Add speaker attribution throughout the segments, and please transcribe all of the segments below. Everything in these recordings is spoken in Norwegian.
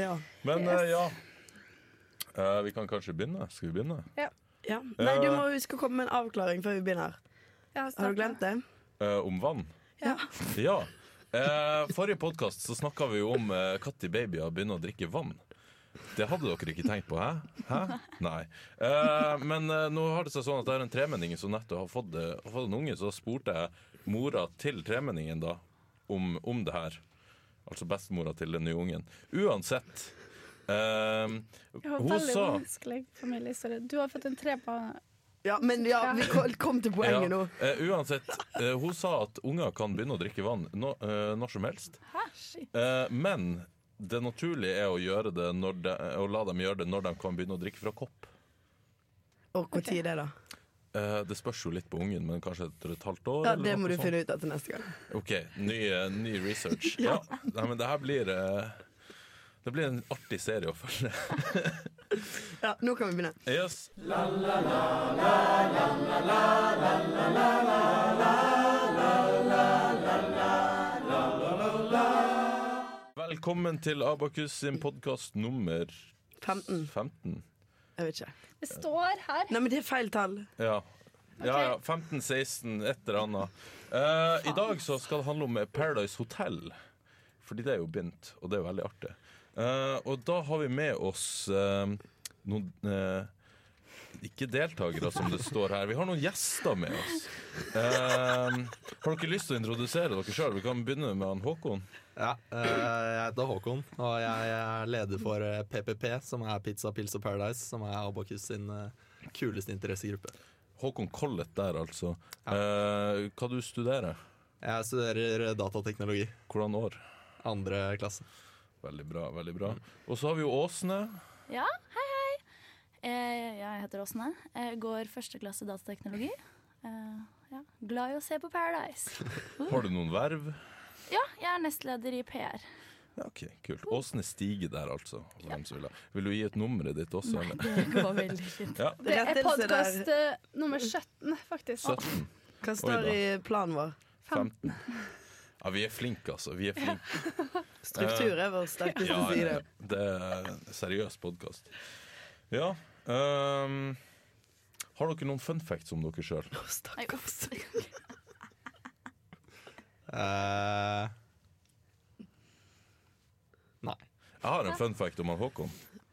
Speaker 1: Ja.
Speaker 2: Men
Speaker 3: Yes.
Speaker 2: eh, ja. Eh, vi kan kanskje begynne? Skal vi begynne? Eh,
Speaker 1: ja. Nei, du må huske å komme med en avklaring før vi begynner. Har du glemt det?
Speaker 2: Eh, om vann?
Speaker 1: Ja.
Speaker 2: Ja. Eh, forrige podkast snakka vi jo om eh, når babyer begynner å drikke vann. Det hadde dere ikke tenkt på, hæ? hæ? Nei. Eh, men eh, nå har det seg sånn at jeg har en tremenning som nettopp har fått, eh, har fått en unge, så da spurte jeg mora til tremenningen da om, om det her. Altså bestemora til den nye ungen. Uansett. Eh,
Speaker 3: Det var
Speaker 2: hun
Speaker 3: veldig
Speaker 2: sa
Speaker 3: vanskelig familiehistorie. Du har fått en trebarn.
Speaker 1: Ja, men ja, vi ko- kom til
Speaker 2: Ja,
Speaker 1: poenget nå.
Speaker 2: eh, uansett, eh, hun sa at unger kan begynne å drikke vann nå- eh, når som helst.
Speaker 3: Hæ? Shit.
Speaker 2: Eh, men det naturlige er å, gjøre det når de, å la dem gjøre det når de kan begynne å drikke fra kopp.
Speaker 1: Og når tid er det?
Speaker 2: Eh, det spørs jo litt på ungen, men kanskje etter et halvt år?
Speaker 1: Ja,
Speaker 2: eller
Speaker 1: Det
Speaker 2: noe
Speaker 1: må du
Speaker 2: sånt.
Speaker 1: finne ut av til neste gang.
Speaker 2: OK, ny, eh, ny research. ja. Nei, men det her blir eh, Det blir en artig serie å følge.
Speaker 1: Ja, Nå kan vi begynne.
Speaker 2: yes. Velkommen til Abakus sin podkast nummer
Speaker 1: 15.
Speaker 2: 15.
Speaker 1: Jeg vet ikke.
Speaker 3: Det står her.
Speaker 1: Nei, men det er feil tall.
Speaker 2: Ja. Ja, ja. 15-16, et eller annet. Eh, I dag så skal det handle om Paradise Hotel. Fordi det er jo begynt, og det er jo veldig artig. Eh, og da har vi med oss eh, noen eh, Ikke deltakere, som det står her. Vi har noen gjester med oss. Eh, har dere lyst til å introdusere dere sjøl? Vi kan begynne med han Håkon.
Speaker 4: Ja, eh, jeg heter Håkon, og jeg er leder for eh, PPP, som er Pizza, Pils og Paradise, som er Abakus sin eh, kuleste interessegruppe.
Speaker 2: Håkon Collett der, altså.
Speaker 4: Ja.
Speaker 2: Eh, hva du studerer
Speaker 4: Jeg studerer datateknologi,
Speaker 2: Hvordan år?
Speaker 4: andre klasse.
Speaker 2: Veldig bra. veldig bra Og så har vi jo Åsne.
Speaker 5: Ja, hei, hei. Eh, ja, jeg heter Åsne. Jeg går første klasse datateknologi. Eh, ja. Glad i å se på Paradise.
Speaker 2: Har du noen verv?
Speaker 5: Ja, jeg er nestleder i PR.
Speaker 2: Ja, ok, kult. Åsne Stige der, altså. for dem som Vil ha. Vil du gi et nummeret ditt også? eller?
Speaker 5: Det går veldig fint.
Speaker 2: Ja,
Speaker 3: Det er
Speaker 1: Rettelse
Speaker 3: podkast
Speaker 1: der.
Speaker 3: nummer 17, faktisk.
Speaker 2: 17.
Speaker 1: Hva står i planen vår?
Speaker 2: 15. Ja, vi er flinke, altså. Vi er flinke.
Speaker 1: Struktur er vår sterkeste
Speaker 2: Ja,
Speaker 1: side.
Speaker 2: det er en seriøs podkast. Ja. ehm, har dere noen fun facts om dere sjøl?
Speaker 1: Å, stakk.
Speaker 5: Nei, ups.
Speaker 4: Eh, nei.
Speaker 2: Jeg har en fun fact om han Håkon.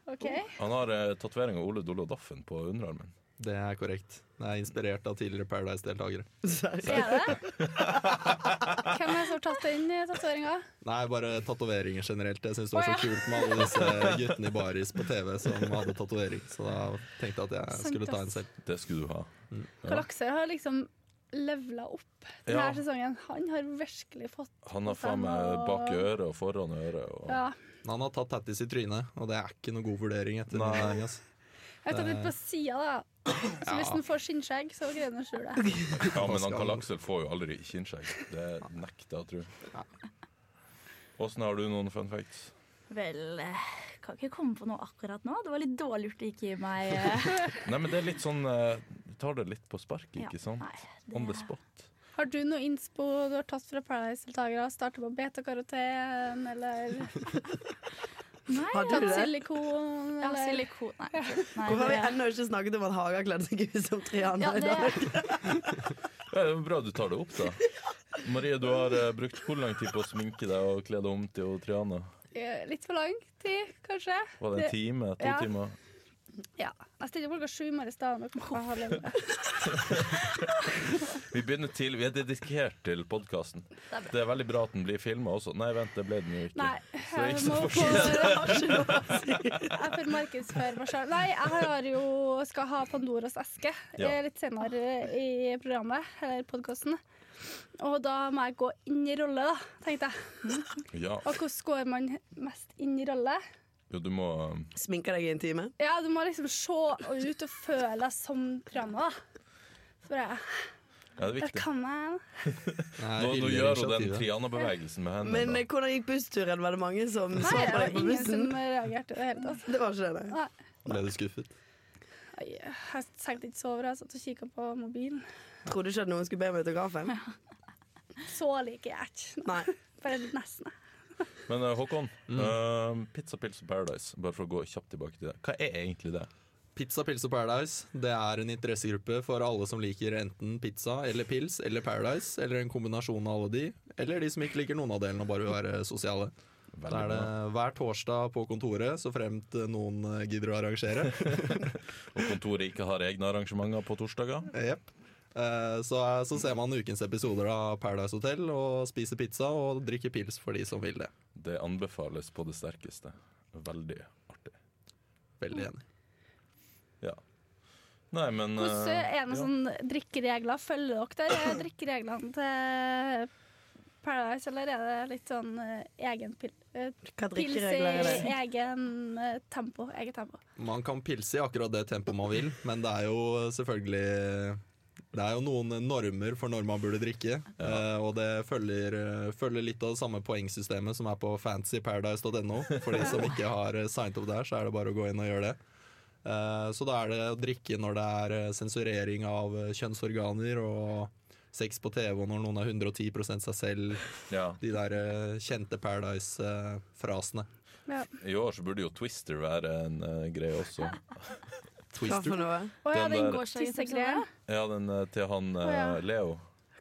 Speaker 3: OK.
Speaker 2: Han har eh, tatovering av Ole Dolo Daffen på underarmen.
Speaker 4: Det er korrekt. Det er inspirert av tidligere Paradise-deltakere.
Speaker 1: Seriøst.
Speaker 3: Er det? Hvem er det som har tatt den eh, tatoveringa?
Speaker 4: Nei, bare tatoveringer generelt. Jeg syns det var
Speaker 3: Å,
Speaker 4: så kult med alle disse guttene i baris på TV som hadde tatovering, så da tenkte jeg at jeg skulle ta en selv.
Speaker 2: Det skulle du ha.
Speaker 3: Karl Aksel har liksom levela opp denne
Speaker 2: Ja.
Speaker 3: sesongen. Han har virkelig fått
Speaker 2: Han har faen meg bak øret og foran øret. Og
Speaker 3: ja.
Speaker 4: Men Han har tatt tattis i trynet, og det er ikke noe god vurdering. etter
Speaker 2: Nei.
Speaker 4: min mening, altså.
Speaker 3: Jeg har tatt
Speaker 2: Eh.
Speaker 3: litt på sida, da. Så hvis
Speaker 4: Ja.
Speaker 3: han får skinnskjegg, så greier han å skjule det.
Speaker 2: Ja, men han Karl Aksel får jo aldri kinnskjegg. Det nekter jeg å tro. Åssen har du noen fun facts?
Speaker 5: Vel, eh, kan ikke komme på noe akkurat nå. Det var litt dårlig gjort å ikke gi meg eh,
Speaker 2: Nei, men det er litt sånn eh, Du tar det litt på sparket,
Speaker 5: ja,
Speaker 2: ikke sant?
Speaker 5: nei, det-
Speaker 2: On the spot.
Speaker 3: Har du noe innspo du har tatt fra Paradise-deltakere? Startet på betakaroten, eller
Speaker 5: Nei,
Speaker 1: Har du
Speaker 3: tatt
Speaker 1: det?
Speaker 3: silikon,
Speaker 5: ja,
Speaker 3: eller
Speaker 5: silikon Nei. nei
Speaker 1: Hvorfor har vi
Speaker 5: det-
Speaker 1: ennå ikke snakket om at Haga kledde seg ut som Triana
Speaker 5: ja,
Speaker 1: i dag?
Speaker 5: det,
Speaker 2: Ja, det er bra du tar det opp, da. Marie, du har eh, brukt hvor lang tid på å sminke deg og kle deg om til å Triana?
Speaker 3: eh, litt for lang tid, kanskje?
Speaker 2: Var det en time? To
Speaker 3: Ja.
Speaker 2: timer?
Speaker 3: Ja. Jeg stilte klokka sju i morges, da. men klokka halv elleve.
Speaker 2: Vi begynner til, vi er dedikert til podkasten. Det er veldig bra at den blir filma også. Nei, vent, det ble den jo ikke.
Speaker 3: Nei,
Speaker 2: Så det er
Speaker 3: jeg
Speaker 2: ikke så
Speaker 3: må
Speaker 2: forskjell.
Speaker 3: få
Speaker 1: Ja,
Speaker 3: Jeg får markedsføre meg sjøl. Nei, jeg har jo, skal ha Pandoras eske
Speaker 2: Ja.
Speaker 3: eh, litt senere i programmet, eller podkasten. Og da må jeg gå inn i rolle, da, tenkte jeg.
Speaker 2: Ja,
Speaker 3: Og hvordan går man mest inn i rolle?
Speaker 2: jo, du må eh,
Speaker 1: Sminker deg i en time?
Speaker 3: Ja, du må liksom se ut og føle deg som Triana, da. Så bare,
Speaker 2: Ja, det er
Speaker 3: det
Speaker 2: viktig.
Speaker 3: kan jeg.
Speaker 4: Nei,
Speaker 2: Nå, nå
Speaker 4: hyller
Speaker 2: gjør hun den
Speaker 4: initiativet.
Speaker 2: Triana-bevegelsen med hendene.
Speaker 1: Men eh, hvordan gikk bussturen? Var det mange som så
Speaker 3: Nei, det
Speaker 1: på
Speaker 3: var
Speaker 1: deg på
Speaker 3: ingen
Speaker 1: bussen?
Speaker 3: som reagerte i det hele tatt.
Speaker 1: Det var ikke det, nei.
Speaker 3: Nei.
Speaker 4: Ble du skuffet?
Speaker 3: Oi, Jeg tenkte ikke så over, jeg satt og kikka på mobilen.
Speaker 1: Trodde ikke at noen skulle be om autografen?
Speaker 3: Så liker jeg ikke.
Speaker 1: Nei.
Speaker 3: Bare nesten.
Speaker 2: Men eh, Håkon, eh, Pizza Pils og Paradise, bare for å gå kjapt tilbake til det. Hva er egentlig det?
Speaker 4: Pizza, pils og Paradise Det er en interessegruppe for alle som liker enten pizza eller pils eller Paradise, eller en kombinasjon av alle de, eller de som ikke liker noen av delene og bare vil være sosiale. Da er det hver torsdag på kontoret, så fremt noen eh, gidder å arrangere.
Speaker 2: Og kontoret ikke har egne arrangementer på torsdager.
Speaker 4: Jepp. Eh, Så, så ser man ukens episoder av Paradise Hotel og spiser pizza og drikker pils for de som vil det.
Speaker 2: Det anbefales på det sterkeste. Veldig artig.
Speaker 4: Veldig enig.
Speaker 2: Ja. Nei, men
Speaker 3: Hvordan
Speaker 2: eh,
Speaker 3: er det sånn- noen
Speaker 2: ja.
Speaker 3: sånne drikkeregler? Følger dere der eh, drikkereglene til Paradise, eller er det litt sånn eh, egen pil eh,
Speaker 1: Hva
Speaker 3: pils
Speaker 1: drikkeregler er
Speaker 3: i
Speaker 1: det?
Speaker 3: egen eh, tempo? Eget tempo.
Speaker 4: Man kan pilse i akkurat det tempoet man vil, men det er jo selvfølgelig det er jo noen normer for når man burde drikke, eh, og det følger, eh, følger litt av det samme poengsystemet som er på fancyparadise.no. For de som ikke har eh, signet opp der, så er det bare å gå inn og gjøre det. Eh, Så da er det å drikke når det er eh, sensurering av eh, kjønnsorganer og sex på TV, og når noen er 110 seg selv.
Speaker 2: ja.
Speaker 4: De der eh, kjente eh, Paradise-frasene.
Speaker 3: Ja.
Speaker 2: I år så burde jo Twister være en eh, greie også.
Speaker 1: Hva for
Speaker 4: Twister.
Speaker 1: noe?
Speaker 3: Å ja,
Speaker 2: Den
Speaker 3: den
Speaker 2: der-
Speaker 3: gårsdagens-greia.
Speaker 2: Ja, den eh, til han eh,
Speaker 3: ja.
Speaker 2: Leo.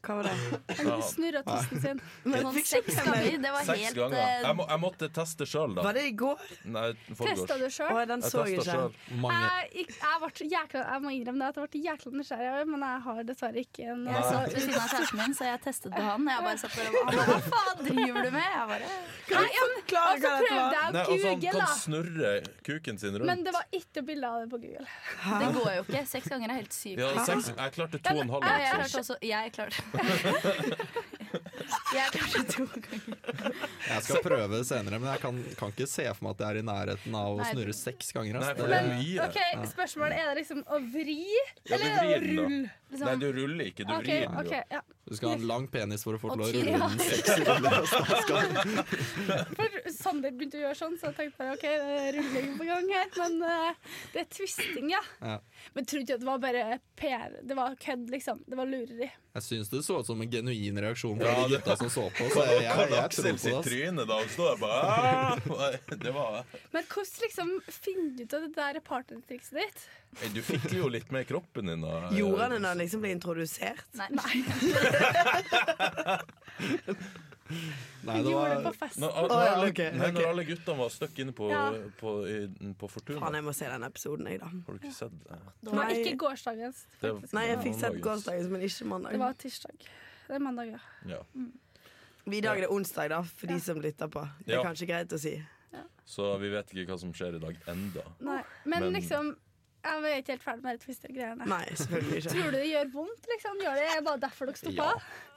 Speaker 1: Hva var det?
Speaker 2: Ja,
Speaker 3: Den snurra tissen sin.
Speaker 1: Men
Speaker 5: Sånn
Speaker 1: fikk jeg
Speaker 5: seks
Speaker 1: ikke med
Speaker 5: ganger.
Speaker 1: meg.
Speaker 5: Det var
Speaker 2: Seks
Speaker 5: helt
Speaker 2: ganger.
Speaker 5: eh,
Speaker 2: Jeg, må, jeg måtte teste sjøl, da.
Speaker 1: Var det i går?
Speaker 2: Nei, forgårs.
Speaker 3: Testa du
Speaker 1: Å,
Speaker 3: sjøl?
Speaker 1: den
Speaker 2: Jeg
Speaker 1: så jeg
Speaker 2: testa
Speaker 1: ikke.
Speaker 2: sjøl.
Speaker 4: Mange
Speaker 3: Jeg, gikk- jeg, ble så jækla, jeg må innrømme det at jeg ble jækla nysgjerrig, av det, men jeg har dessverre ikke en
Speaker 5: Jeg satt ved siden av kjæresten min, så jeg testet på han. Jeg bare satt der og bare, Hva faen driver du med? Jeg bare,
Speaker 1: Kan du
Speaker 3: Og så
Speaker 1: forklare hva dette
Speaker 3: prøvde
Speaker 1: var?
Speaker 2: Nei,
Speaker 3: jeg Altså, å
Speaker 2: altså, han
Speaker 3: google,
Speaker 2: kan
Speaker 3: da.
Speaker 2: snurre kuken sin rundt.
Speaker 3: Men det var ikke bilde av det på Google.
Speaker 5: det går jo ikke. Seks ganger er helt sykt.
Speaker 2: ja, seks, jeg klarte to og en halv.
Speaker 5: Ja, jeg
Speaker 2: liksom.
Speaker 5: klarte også Jeg klarte Jeg klarte to ganger.
Speaker 4: Jeg skal prøve senere, men jeg kan, kan ikke se for meg at jeg er i nærheten av å
Speaker 5: Nei.
Speaker 4: snurre seks ganger. ass.
Speaker 2: Nei, for det er
Speaker 4: Det-
Speaker 2: mye.
Speaker 3: OK, spørsmålet er det liksom å vri,
Speaker 2: Ja, du
Speaker 3: eller er det å
Speaker 2: vrir den,
Speaker 3: rulle? Sånn.
Speaker 2: da. Nei, du ruller ikke, du
Speaker 3: OK,
Speaker 2: vrir den
Speaker 3: ok,
Speaker 2: jo.
Speaker 3: ja.
Speaker 4: Du skal ha en lang penis for å få
Speaker 5: Og
Speaker 4: til å
Speaker 5: tynn.
Speaker 4: rulle den seks sekunder.
Speaker 3: For Sander begynte å gjøre sånn, så jeg tenkte bare OK, det er rulling på gang her. Men eh, det er twisting, ja.
Speaker 4: Ja.
Speaker 3: Men trodde ikke at det var bare PR. Det var kødd, liksom. Det var lureri.
Speaker 4: Jeg syns det så ut som en genuin reaksjon fra
Speaker 2: Ja,
Speaker 4: de
Speaker 2: det-
Speaker 4: gutta som så på. Så jeg, jeg,
Speaker 2: Karl
Speaker 4: jeg tror
Speaker 2: Aksel sitt
Speaker 4: på det. ass.
Speaker 2: tryne da, og står jeg bare «Ah!» Det var
Speaker 3: Men hvordan liksom finner du ut av det der partnertrikset ditt?
Speaker 2: Nei, Du fikler jo litt med kroppen din da. eh,
Speaker 1: Gjorde han det da han liksom ble introdusert?
Speaker 5: Nei.
Speaker 4: Nei, det
Speaker 3: Gjorde det
Speaker 4: var,
Speaker 3: på fest?
Speaker 2: Når, når,
Speaker 1: Å, ja,
Speaker 2: alle,
Speaker 1: ok,
Speaker 2: nei,
Speaker 1: ok.
Speaker 2: når alle guttene var stuck inne på,
Speaker 3: Ja.
Speaker 2: på, i, på Fortuna.
Speaker 1: Faen, jeg må se den episoden, jeg, da.
Speaker 2: Har du ikke sett det?
Speaker 3: Det var
Speaker 1: Nei.
Speaker 3: ikke gårsdagens.
Speaker 2: Det-
Speaker 3: faktisk.
Speaker 1: Nei, jeg
Speaker 2: Ja,
Speaker 1: fikk sett
Speaker 2: mandagens.
Speaker 1: gårsdagens, men ikke
Speaker 3: Det var
Speaker 1: mandag.
Speaker 3: tirsdag. Det er mandag, ja.
Speaker 2: Ja.
Speaker 1: I dag er det onsdag, da, for de
Speaker 3: Ja.
Speaker 1: som lytter på. Det
Speaker 2: Ja.
Speaker 1: er kanskje greit å si.
Speaker 2: Så vi vet ikke hva som skjer i dag enda.
Speaker 3: Nei. Men,
Speaker 2: Men-
Speaker 3: liksom, jeg var ikke helt ferdig med de twister-greiene.
Speaker 1: Nei, selvfølgelig ikke.
Speaker 3: Tror du det gjør vondt, liksom? Gjør det bare derfor dere stoppa?
Speaker 4: Ja.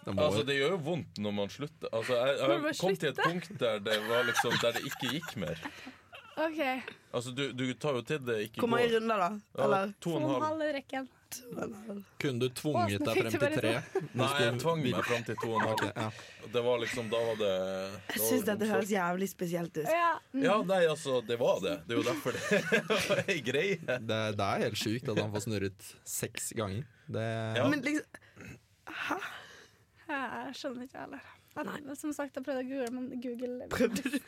Speaker 4: det må,
Speaker 2: Altså, det gjør jo vondt når man slutter. Altså, jeg,
Speaker 3: Når man
Speaker 2: jeg kom til et punkt der det, var liksom, der det ikke gikk mer.
Speaker 3: OK.
Speaker 2: Altså, du, du tar jo til det ikke
Speaker 1: Hvor mange
Speaker 2: går.
Speaker 1: runder, da?
Speaker 2: Ja,
Speaker 1: Eller
Speaker 2: to og en
Speaker 3: Sånn
Speaker 2: halv.
Speaker 3: halve rekken.
Speaker 4: kunne du tvunget deg frem til tre?
Speaker 2: Nei, jeg tvang meg fram til to og en halv.
Speaker 4: Ja.
Speaker 2: Det var liksom, da var det da
Speaker 1: Jeg
Speaker 2: var
Speaker 1: syns
Speaker 2: det
Speaker 1: dette
Speaker 2: vondt.
Speaker 1: høres jævlig spesielt ut.
Speaker 3: Ja.
Speaker 2: Ja, nei, altså, det var det. Det er jo derfor det var ei greie.
Speaker 4: Det, det er helt sjukt at han får snurret seks ganger. Det,
Speaker 2: Ja.
Speaker 1: Men liksom
Speaker 3: Jeg skjønner ikke, jeg heller.
Speaker 1: Nei.
Speaker 3: Jeg- Som sagt, jeg prøvde å google, men Google
Speaker 1: prøvde du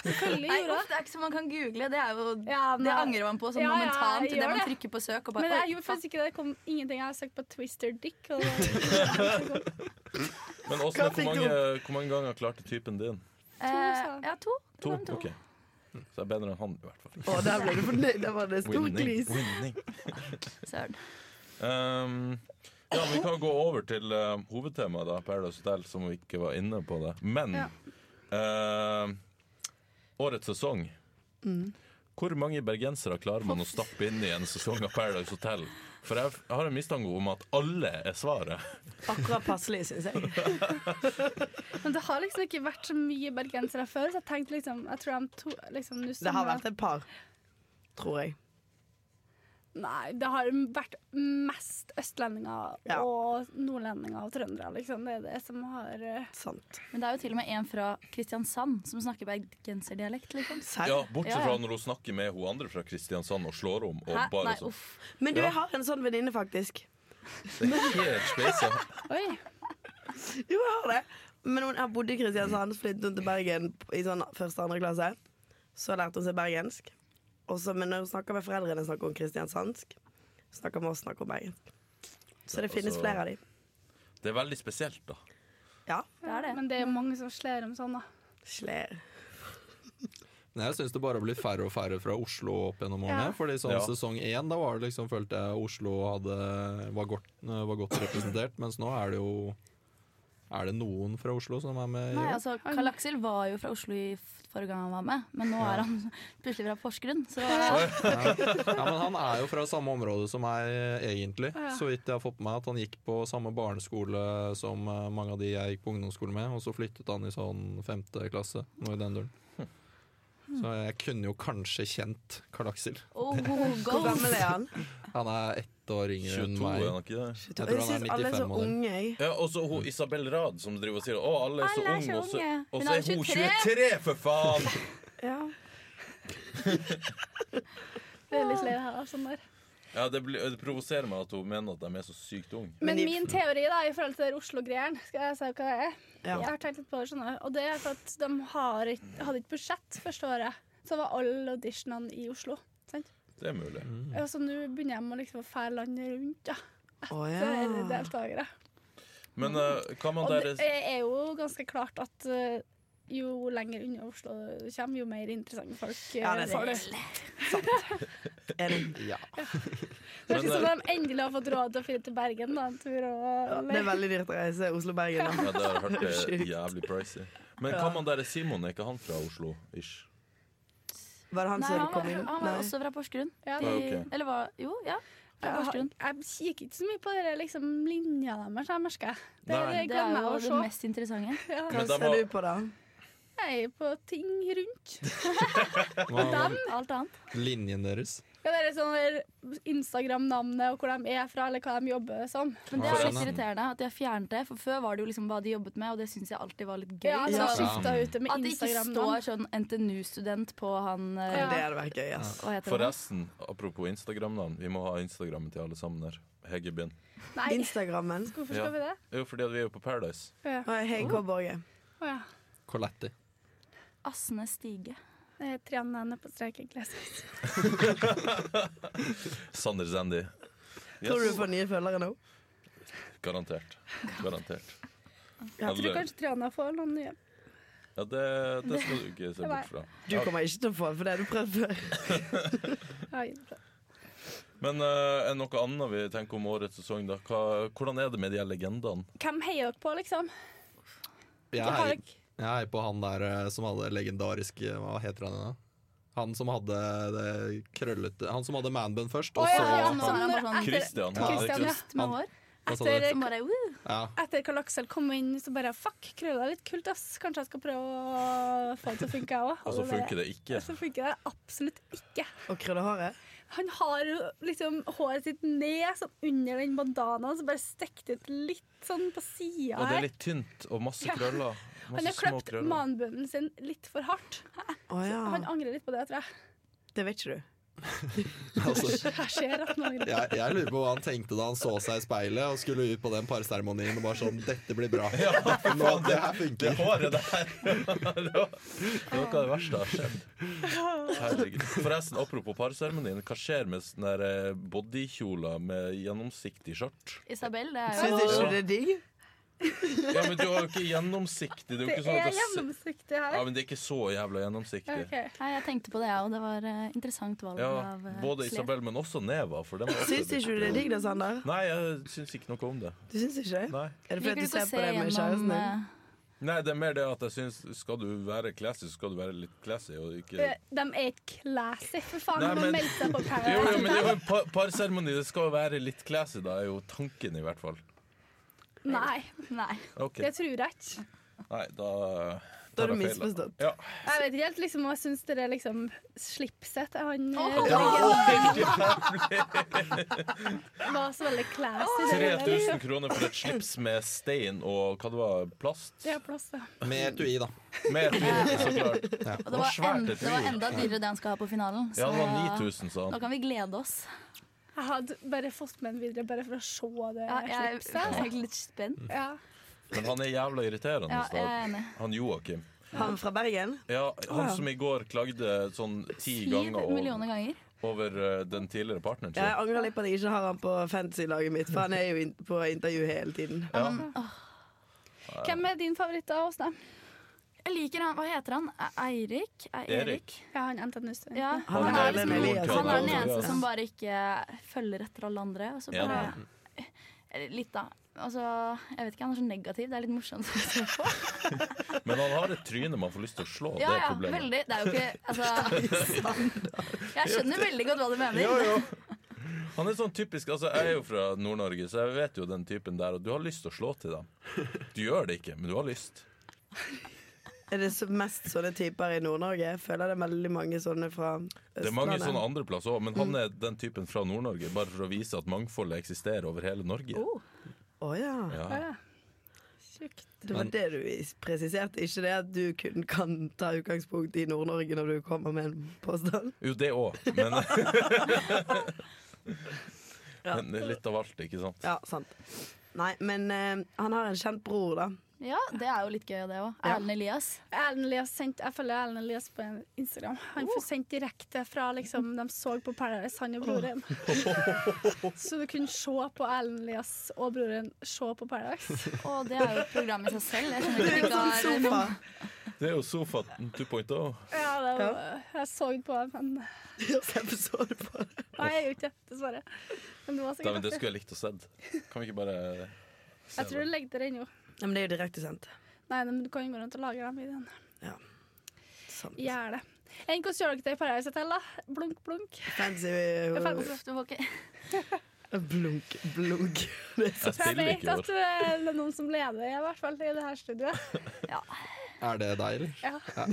Speaker 3: Selvfølgelig
Speaker 5: Nei,
Speaker 3: gjorde jeg
Speaker 5: uff, det er ikke så man kan google. Det, er jo,
Speaker 3: Ja,
Speaker 5: det
Speaker 3: nei.
Speaker 5: angrer man på sånn
Speaker 3: Ja, ja, jeg
Speaker 5: momentant idet
Speaker 3: gjør
Speaker 5: man
Speaker 3: det.
Speaker 5: trykker på søk. Og
Speaker 3: men
Speaker 5: bare,
Speaker 3: jeg
Speaker 5: oi,
Speaker 3: gjorde
Speaker 5: faen.
Speaker 3: faktisk ikke det. Det kom ingenting. Jeg har søkt på Twister Dick. Og
Speaker 2: Men Åsne,
Speaker 1: Hva
Speaker 2: hvor,
Speaker 1: fikk du
Speaker 2: mange, hvor mange ganger klarte typen din?
Speaker 5: Eh, ja, to.
Speaker 2: To?
Speaker 5: Det kom
Speaker 2: OK. Så jeg er bedre enn han, i hvert fall.
Speaker 1: Å, der ble du fornøyd. Der var det stor
Speaker 2: Winning.
Speaker 1: glis.
Speaker 2: Winning.
Speaker 5: Søren.
Speaker 2: Um, ja, vi kan gå over til eh, hovedtemaet, da, Paradise Hotel, som vi ikke var inne på. det Men
Speaker 3: Ja.
Speaker 2: eh, årets sesong
Speaker 5: Mm.
Speaker 2: Hvor mange bergensere klarer man å stappe inn i en sesong av Paradise Hotel? For jeg f- jeg har en mistanke om at alle er svaret.
Speaker 1: Akkurat passelig, syns jeg.
Speaker 3: Men det har liksom ikke vært så mye bergensere før, så jeg tenkte liksom Jeg tror de to liksom, nå
Speaker 1: Det har
Speaker 3: samler-
Speaker 1: vært et par, tror jeg.
Speaker 3: Nei, det har vært mest østlendinger
Speaker 1: Ja.
Speaker 3: og nordlendinger og trøndere, liksom. Det er det som har eh,
Speaker 1: Sant.
Speaker 5: Men det er jo til og med en fra Kristiansand som snakker bergenserdialekt. Liksom.
Speaker 1: Serr?
Speaker 2: Ja, Bortsett
Speaker 5: Ja, ja.
Speaker 2: fra når hun snakker med hun andre fra Kristiansand og slår om. Og
Speaker 5: Hæ?
Speaker 2: bare
Speaker 5: Nei,
Speaker 2: sånn
Speaker 5: uff.
Speaker 1: Men du,
Speaker 2: Ja.
Speaker 1: jeg har en sånn venninne, faktisk.
Speaker 2: Det er helt speisa.
Speaker 3: Oi!
Speaker 1: Jo, jeg har det. Men hun har bodd i Kristiansand, flyttet hun til Bergen i sånn første andre klasse. Så lærte hun seg bergensk. Og så, men når hun snakker med foreldrene, snakker hun kristiansandsk. Snakker med oss, snakker hun bergensk. Så det finnes
Speaker 2: Altså-
Speaker 1: flere av dem.
Speaker 2: Det er veldig spesielt, da.
Speaker 1: Ja.
Speaker 5: Det er det.
Speaker 3: Men det er jo mange som slår om sånn, da.
Speaker 1: Sler.
Speaker 4: Men jeg syns det bare har blitt færre og færre fra Oslo opp gjennom årene.
Speaker 3: Ja.
Speaker 4: Fordi sånn
Speaker 2: Ja.
Speaker 4: sesong én, da var det liksom, følte jeg Oslo hadde, var, godt, var godt representert. Mens nå er det jo Er det noen fra Oslo som er med? i
Speaker 5: Nei,
Speaker 4: år?
Speaker 5: altså, Karl Aksel var jo fra Oslo i f- forrige gang han var med, men nå er han plutselig fra Porsgrunn. Så
Speaker 4: Ja, men han er jo fra samme område som meg, egentlig.
Speaker 3: Ja.
Speaker 4: Så vidt jeg har fått med meg at han gikk på samme barneskole som eh, mange av de jeg gikk på ungdomsskole med, og så flyttet han i sånn femte klasse, noe i den duren. Så jeg kunne jo kanskje kjent Karl Aksel.
Speaker 5: oh, go.
Speaker 1: Hvor gammel er han?
Speaker 4: Han er ett år
Speaker 2: 22
Speaker 4: yngre enn
Speaker 2: er
Speaker 4: meg.
Speaker 2: han ikke det?
Speaker 1: Jeg,
Speaker 4: tror han er
Speaker 1: synes alle er så
Speaker 4: 95-modell.
Speaker 1: unge, jeg.
Speaker 2: Ja, og så hun Isabel Rad som driver og sier Å, alle er så
Speaker 5: Alle er
Speaker 2: unge,
Speaker 5: så
Speaker 2: og så,
Speaker 5: unge.
Speaker 2: og
Speaker 5: Men
Speaker 2: så
Speaker 5: alle
Speaker 2: er hun
Speaker 5: 23.
Speaker 2: 23, for faen!
Speaker 1: Ja.
Speaker 3: Det er litt lei her, da, sånn der.
Speaker 2: Ja, det, blir, det provoserer meg at hun mener at de er så sykt unge.
Speaker 3: Men
Speaker 1: Men i-
Speaker 3: min teori da, i forhold til det Oslo-greieren, skal jeg si hva det er?
Speaker 1: Ja.
Speaker 3: Jeg har tenkt litt på det, skjønner du. Og det er for at de har ikke, hadde ikke budsjett første året. Så var alle auditionene i Oslo.
Speaker 2: Det er mulig.
Speaker 1: Mm.
Speaker 3: Og så nå begynner de å liksom fære landet rundt, da.
Speaker 1: Å
Speaker 3: Det er
Speaker 1: ja.
Speaker 3: deltakere.
Speaker 2: Men eh, hva man
Speaker 3: Og
Speaker 2: der
Speaker 3: det er jo ganske klart at eh, jo lenger unna Oslo du kommer, jo mer interessante folk eh,
Speaker 1: Ja, det er
Speaker 3: får du.
Speaker 1: Enig.
Speaker 4: Ja.
Speaker 3: Det er
Speaker 2: Men,
Speaker 3: ikke
Speaker 1: eh,
Speaker 3: som om de endelig har fått råd til å flytte til Bergen da, en tur. Og,
Speaker 1: Det er veldig dyrt å reise Oslo-Bergen. da.
Speaker 2: Ja, det har jeg hørt det er
Speaker 1: Sjukt.
Speaker 2: jævlig pricey. Men
Speaker 1: Ja.
Speaker 2: hva man der er Simon? Er ikke han fra Oslo? Ish.
Speaker 1: Var det han
Speaker 5: Nei,
Speaker 1: som
Speaker 5: han var,
Speaker 1: kom inn?
Speaker 5: han
Speaker 1: Nei.
Speaker 5: var også fra Porsgrunn.
Speaker 3: ja,
Speaker 2: Ja,
Speaker 5: I,
Speaker 2: ok.
Speaker 5: Eh, Eller hva? Jo, ja. Fra
Speaker 3: jeg, har-
Speaker 5: Porsgrunn.
Speaker 3: jeg kikker ikke så mye på dere, liksom, linja deres, jeg merker jeg. Det,
Speaker 2: Nei.
Speaker 3: det
Speaker 5: Det er
Speaker 3: glemmer
Speaker 5: jo
Speaker 3: jeg å
Speaker 5: det
Speaker 3: se.
Speaker 5: mest interessante.
Speaker 1: Hva
Speaker 2: Men de
Speaker 1: ser
Speaker 2: har-
Speaker 1: du på, da?
Speaker 3: Jeg er på ting rundt.
Speaker 4: Hva-
Speaker 5: Alt annet.
Speaker 4: Linjen deres.
Speaker 3: Ja, det er sånn der Instagram-navnet og hvor de er fra, eller hva de jobber som.
Speaker 5: Men det
Speaker 4: Ja,
Speaker 5: er
Speaker 4: sånn,
Speaker 5: litt
Speaker 4: ja.
Speaker 5: irriterende at de har fjernet det, for før var det jo liksom hva de jobbet med, og det syns jeg alltid var litt gøy. Sånn
Speaker 3: Ja, de
Speaker 5: Så
Speaker 3: har
Speaker 4: Ja.
Speaker 3: skifta ut det
Speaker 5: altså, at
Speaker 3: med
Speaker 5: det ikke
Speaker 3: Instagram-navn.
Speaker 5: står sånn NTNU-student på han eh,
Speaker 1: Det hadde vært gøy. ass.
Speaker 5: Hva heter han?
Speaker 2: Forresten, apropos Instagram-navn. Vi må ha Instagrammen til alle sammen her. Heggebyen.
Speaker 3: Nei,
Speaker 1: Instagrammen.
Speaker 3: hvorfor skal
Speaker 2: Ja.
Speaker 3: vi det?
Speaker 2: Jo, fordi at vi er jo på Paradise.
Speaker 3: Ja.
Speaker 1: Og Hei, K. Borge.
Speaker 3: Å ja.
Speaker 4: Coletti.
Speaker 5: Asne Stige.
Speaker 3: Det er Trianne nede på streken. Glasses.
Speaker 2: Sander Zandy.
Speaker 1: Tror du du får nye følgere nå?
Speaker 2: Garantert. Garantert.
Speaker 3: Jeg tror
Speaker 2: Alle-
Speaker 3: kanskje Trianne får noen nye.
Speaker 2: Ja, det, det skal du ikke se bort fra.
Speaker 1: Du kommer ikke til å få for det har du prøvd før.
Speaker 3: Ja, innenfor.
Speaker 2: Men eh, er det noe annet vi tenker om årets sesong, da? Hva, hvordan er det med de her legendene?
Speaker 3: Hvem heier dere på, liksom?
Speaker 4: Jeg
Speaker 3: Ikke har
Speaker 4: heier,
Speaker 3: dere-
Speaker 4: jeg heier på han der eh, som hadde legendarisk eh, Hva heter han igjen? da? Han som hadde det krøllete Han som hadde manbun først, og
Speaker 3: Å,
Speaker 4: så
Speaker 3: ja, ja,
Speaker 5: nå
Speaker 3: sånn
Speaker 5: er han
Speaker 3: når-
Speaker 5: bare sånn-
Speaker 3: etter-
Speaker 2: Christian.
Speaker 4: Ja,
Speaker 3: Christian, ja.
Speaker 5: Krist med
Speaker 4: Han-
Speaker 5: hår.
Speaker 4: Hva sa
Speaker 3: Etter-
Speaker 4: du?
Speaker 5: Som bare woo.
Speaker 4: Ja.
Speaker 3: Etter Karl Aksel kom inn, så bare Fuck, krølla er litt kult, ass. Kanskje jeg skal prøve å få det til å funke, jeg òg.
Speaker 2: Og så Altså, funker det ikke.
Speaker 3: Så funker det absolutt ikke.
Speaker 1: Og krølle håret.
Speaker 3: Han har jo liksom håret sitt ned, sånn under den bandanaen, så bare stekt ut litt sånn på sida
Speaker 2: Og det er
Speaker 3: her.
Speaker 2: litt tynt og masse
Speaker 3: Ja.
Speaker 2: krøller.
Speaker 3: Han har
Speaker 2: Masse små
Speaker 3: kløpt
Speaker 2: krøller.
Speaker 3: manbunnen sin litt for hardt.
Speaker 1: Å ja.
Speaker 3: Han angrer litt på det, tror jeg.
Speaker 1: Det vet ikke du.
Speaker 4: Altså,
Speaker 3: Jeg ser at han angrer.
Speaker 4: jeg, jeg lurer på hva han tenkte da han så seg i speilet og skulle ut på den parseremonien og bare sånn Dette blir bra. Nå, det her
Speaker 2: Det
Speaker 4: funker.
Speaker 2: håret der! det var det var noe av det verste har skjedd. Herregud. Forresten, apropos parseremonien. Hva skjer med sånne der, eh, bodykjoler med gjennomsiktig skjørt?
Speaker 5: Isabel, det er
Speaker 1: Syns
Speaker 5: jo
Speaker 1: ikke du det er digg?
Speaker 2: Ja, men du har jo ikke gjennomsiktig. Det er jo
Speaker 3: Det
Speaker 2: ikke sånn
Speaker 3: er
Speaker 2: at det se-
Speaker 3: gjennomsiktig
Speaker 2: ja,
Speaker 3: her.
Speaker 2: men det er ikke så jævla gjennomsiktig.
Speaker 3: Ok.
Speaker 5: Nei, jeg tenkte på det, jeg òg. Det var eh, interessant valg
Speaker 2: Ja,
Speaker 5: av eh,
Speaker 2: både
Speaker 5: slep.
Speaker 2: Isabel, men også Neva. For den var også
Speaker 1: Syns ikke du det er digg da, Sander?
Speaker 2: Nei, jeg syns ikke noe om det.
Speaker 1: Du syns ikke det?
Speaker 2: Nei.
Speaker 1: Er det fordi
Speaker 5: Liker du
Speaker 1: at du
Speaker 5: ikke å
Speaker 1: ser på det
Speaker 5: se
Speaker 1: med
Speaker 5: gjennom
Speaker 1: kjæresten din?
Speaker 5: eh,
Speaker 2: Nei, det er mer det at jeg syns skal du være classy, så skal du være litt classy. Og ikke...
Speaker 3: Eh, De er ikke classy, for faen.
Speaker 2: Nei,
Speaker 3: de
Speaker 2: men-
Speaker 3: meldte seg på Paradise.
Speaker 2: Jo, jo, men det er jo en par- parseremoni. Det skal jo være litt classy, da, er jo tanken, i hvert fall.
Speaker 3: Nei,
Speaker 5: Nei.
Speaker 2: Ok,
Speaker 3: det tror jeg ikke.
Speaker 2: Nei, da
Speaker 1: Da
Speaker 2: tar jeg feil,
Speaker 1: har du
Speaker 2: da.
Speaker 1: misforstått.
Speaker 2: Ja.
Speaker 3: Jeg vet ikke helt, liksom, og jeg syns det er liksom slipset Han eh, var så veldig classy. det var liksom-
Speaker 2: 3000 kroner for et slips med stein og hva det var, plast?
Speaker 3: Det er plass, ja.
Speaker 4: Med etui, da.
Speaker 2: Med et så klart. Det
Speaker 5: Og det
Speaker 2: var
Speaker 5: var, en,
Speaker 2: svært et
Speaker 5: det var
Speaker 2: liv.
Speaker 5: enda dyrere det han skal ha på finalen.
Speaker 2: Ja, det var
Speaker 5: så
Speaker 2: 9000, sa
Speaker 5: nå
Speaker 2: han.
Speaker 5: kan vi glede oss.
Speaker 3: Jeg hadde bare fått med den videre bare for å se det
Speaker 5: Ja, jeg, jeg
Speaker 3: slipset.
Speaker 2: Mm.
Speaker 5: er litt spent.
Speaker 3: Ja.
Speaker 2: Men han er jævla irriterende.
Speaker 5: Ja, jeg
Speaker 2: da.
Speaker 5: er
Speaker 1: eh,
Speaker 5: enig.
Speaker 2: Han Joakim.
Speaker 1: Han fra Bergen?
Speaker 2: Ja, han som i går klagde sånn ti
Speaker 5: Syv
Speaker 2: ganger over,
Speaker 5: millioner ganger.
Speaker 2: over eh, den tidligere partneren
Speaker 1: Ja, jeg
Speaker 2: sin.
Speaker 1: angrer litt på at jeg ikke har han på fantasy-laget mitt, for han er jo in på intervju hele tiden.
Speaker 5: Ja.
Speaker 2: Ja.
Speaker 5: men, åh,
Speaker 3: Hvem er din favoritt av oss, da?
Speaker 5: jeg liker han. Hva heter han? E- Eirik? E-
Speaker 2: Erik.
Speaker 3: Ja, han NTNU-studenten.
Speaker 5: Ja,
Speaker 1: Han
Speaker 5: han, er
Speaker 1: er
Speaker 5: liksom,
Speaker 1: den Elias.
Speaker 5: han er den eneste
Speaker 2: Elias.
Speaker 5: som bare ikke følger etter alle andre. Og så
Speaker 2: Ja,
Speaker 5: bare, Eh, litt, da. Altså, jeg vet ikke, han er så negativ. Det er litt morsomt å se på.
Speaker 2: Men han har et tryne man får lyst til å slå.
Speaker 5: Ja,
Speaker 2: det er
Speaker 5: ja,
Speaker 2: problemet.
Speaker 5: veldig. Det er jo ikke Altså, jeg skjønner veldig godt hva du mener.
Speaker 2: Ja, ja. Han er sånn typisk altså Jeg er jo fra Nord-Norge, så jeg vet jo den typen der. Og du har lyst til å slå til dem. Du gjør det ikke, men du har lyst.
Speaker 1: Er det så- mest sånne typer i Nord-Norge? Jeg føler det er veldig mange sånne fra Østlandet.
Speaker 2: Det er mange sånne andre plasser òg, men
Speaker 5: Mm.
Speaker 2: han er den typen fra Nord-Norge. Bare for å vise at mangfoldet eksisterer over hele Norge.
Speaker 5: Oh.
Speaker 1: Å ja.
Speaker 2: Ja.
Speaker 3: Ja. Sjukt.
Speaker 1: Det var
Speaker 2: Men-
Speaker 1: det du presiserte, ikke det at du kun kan ta utgangspunkt i Nord-Norge når du kommer med en påstand?
Speaker 2: Jo, det òg, men,
Speaker 1: Ja.
Speaker 2: men det er litt av alt, ikke sant?
Speaker 1: Ja, sant. Nei, men eh, han har en kjent bror, da.
Speaker 5: Ja, det er jo litt gøy, det òg.
Speaker 1: Ja.
Speaker 5: Erlend Elias.
Speaker 3: Erlend Elias sendte, jeg følger Erlend Elias på Instagram. Han får sendt direkte fra liksom, de så på Paradise, han og broren. Så du kunne se på Erlend Elias og broren se på Paradise.
Speaker 5: Og det er jo et program i seg selv. Jeg skjønner
Speaker 1: Det er
Speaker 5: ikke
Speaker 1: jo
Speaker 5: at
Speaker 1: sånn
Speaker 5: det ikke
Speaker 1: sofa.
Speaker 5: har
Speaker 2: Det er jo sofa 2.0.
Speaker 3: Ja, det var, jeg så på det, men
Speaker 1: Så jeg forstår det på det.
Speaker 3: Nei, jeg gjorde ikke det, dessverre. Men det var
Speaker 2: Nei, men
Speaker 3: sikkert
Speaker 2: det
Speaker 3: artig.
Speaker 2: skulle jeg likt å sett. Kan vi ikke bare se
Speaker 3: Jeg tror du
Speaker 2: det?
Speaker 3: legger det ennå.
Speaker 1: Ja, men det er jo direktesendt.
Speaker 3: Nei, men du kan jo gå rundt og lage dem i den.
Speaker 1: Sant.
Speaker 3: Gjør det. Enn hvordan gjør dere det i Paradise Hotel, da? Blunk, blunk.
Speaker 1: Fancy eh,
Speaker 3: Jeg
Speaker 5: noe-
Speaker 3: føler-
Speaker 5: Uff, du får ikke
Speaker 1: Blunk, blunk. Det er så
Speaker 2: Jeg
Speaker 3: Jeg
Speaker 2: spiller
Speaker 3: vet
Speaker 2: ikke
Speaker 3: at eh,
Speaker 2: over.
Speaker 3: det er noen som leder, i hvert fall i det her studioet.
Speaker 4: Er det deg, eller?
Speaker 3: Ja.
Speaker 1: Ja.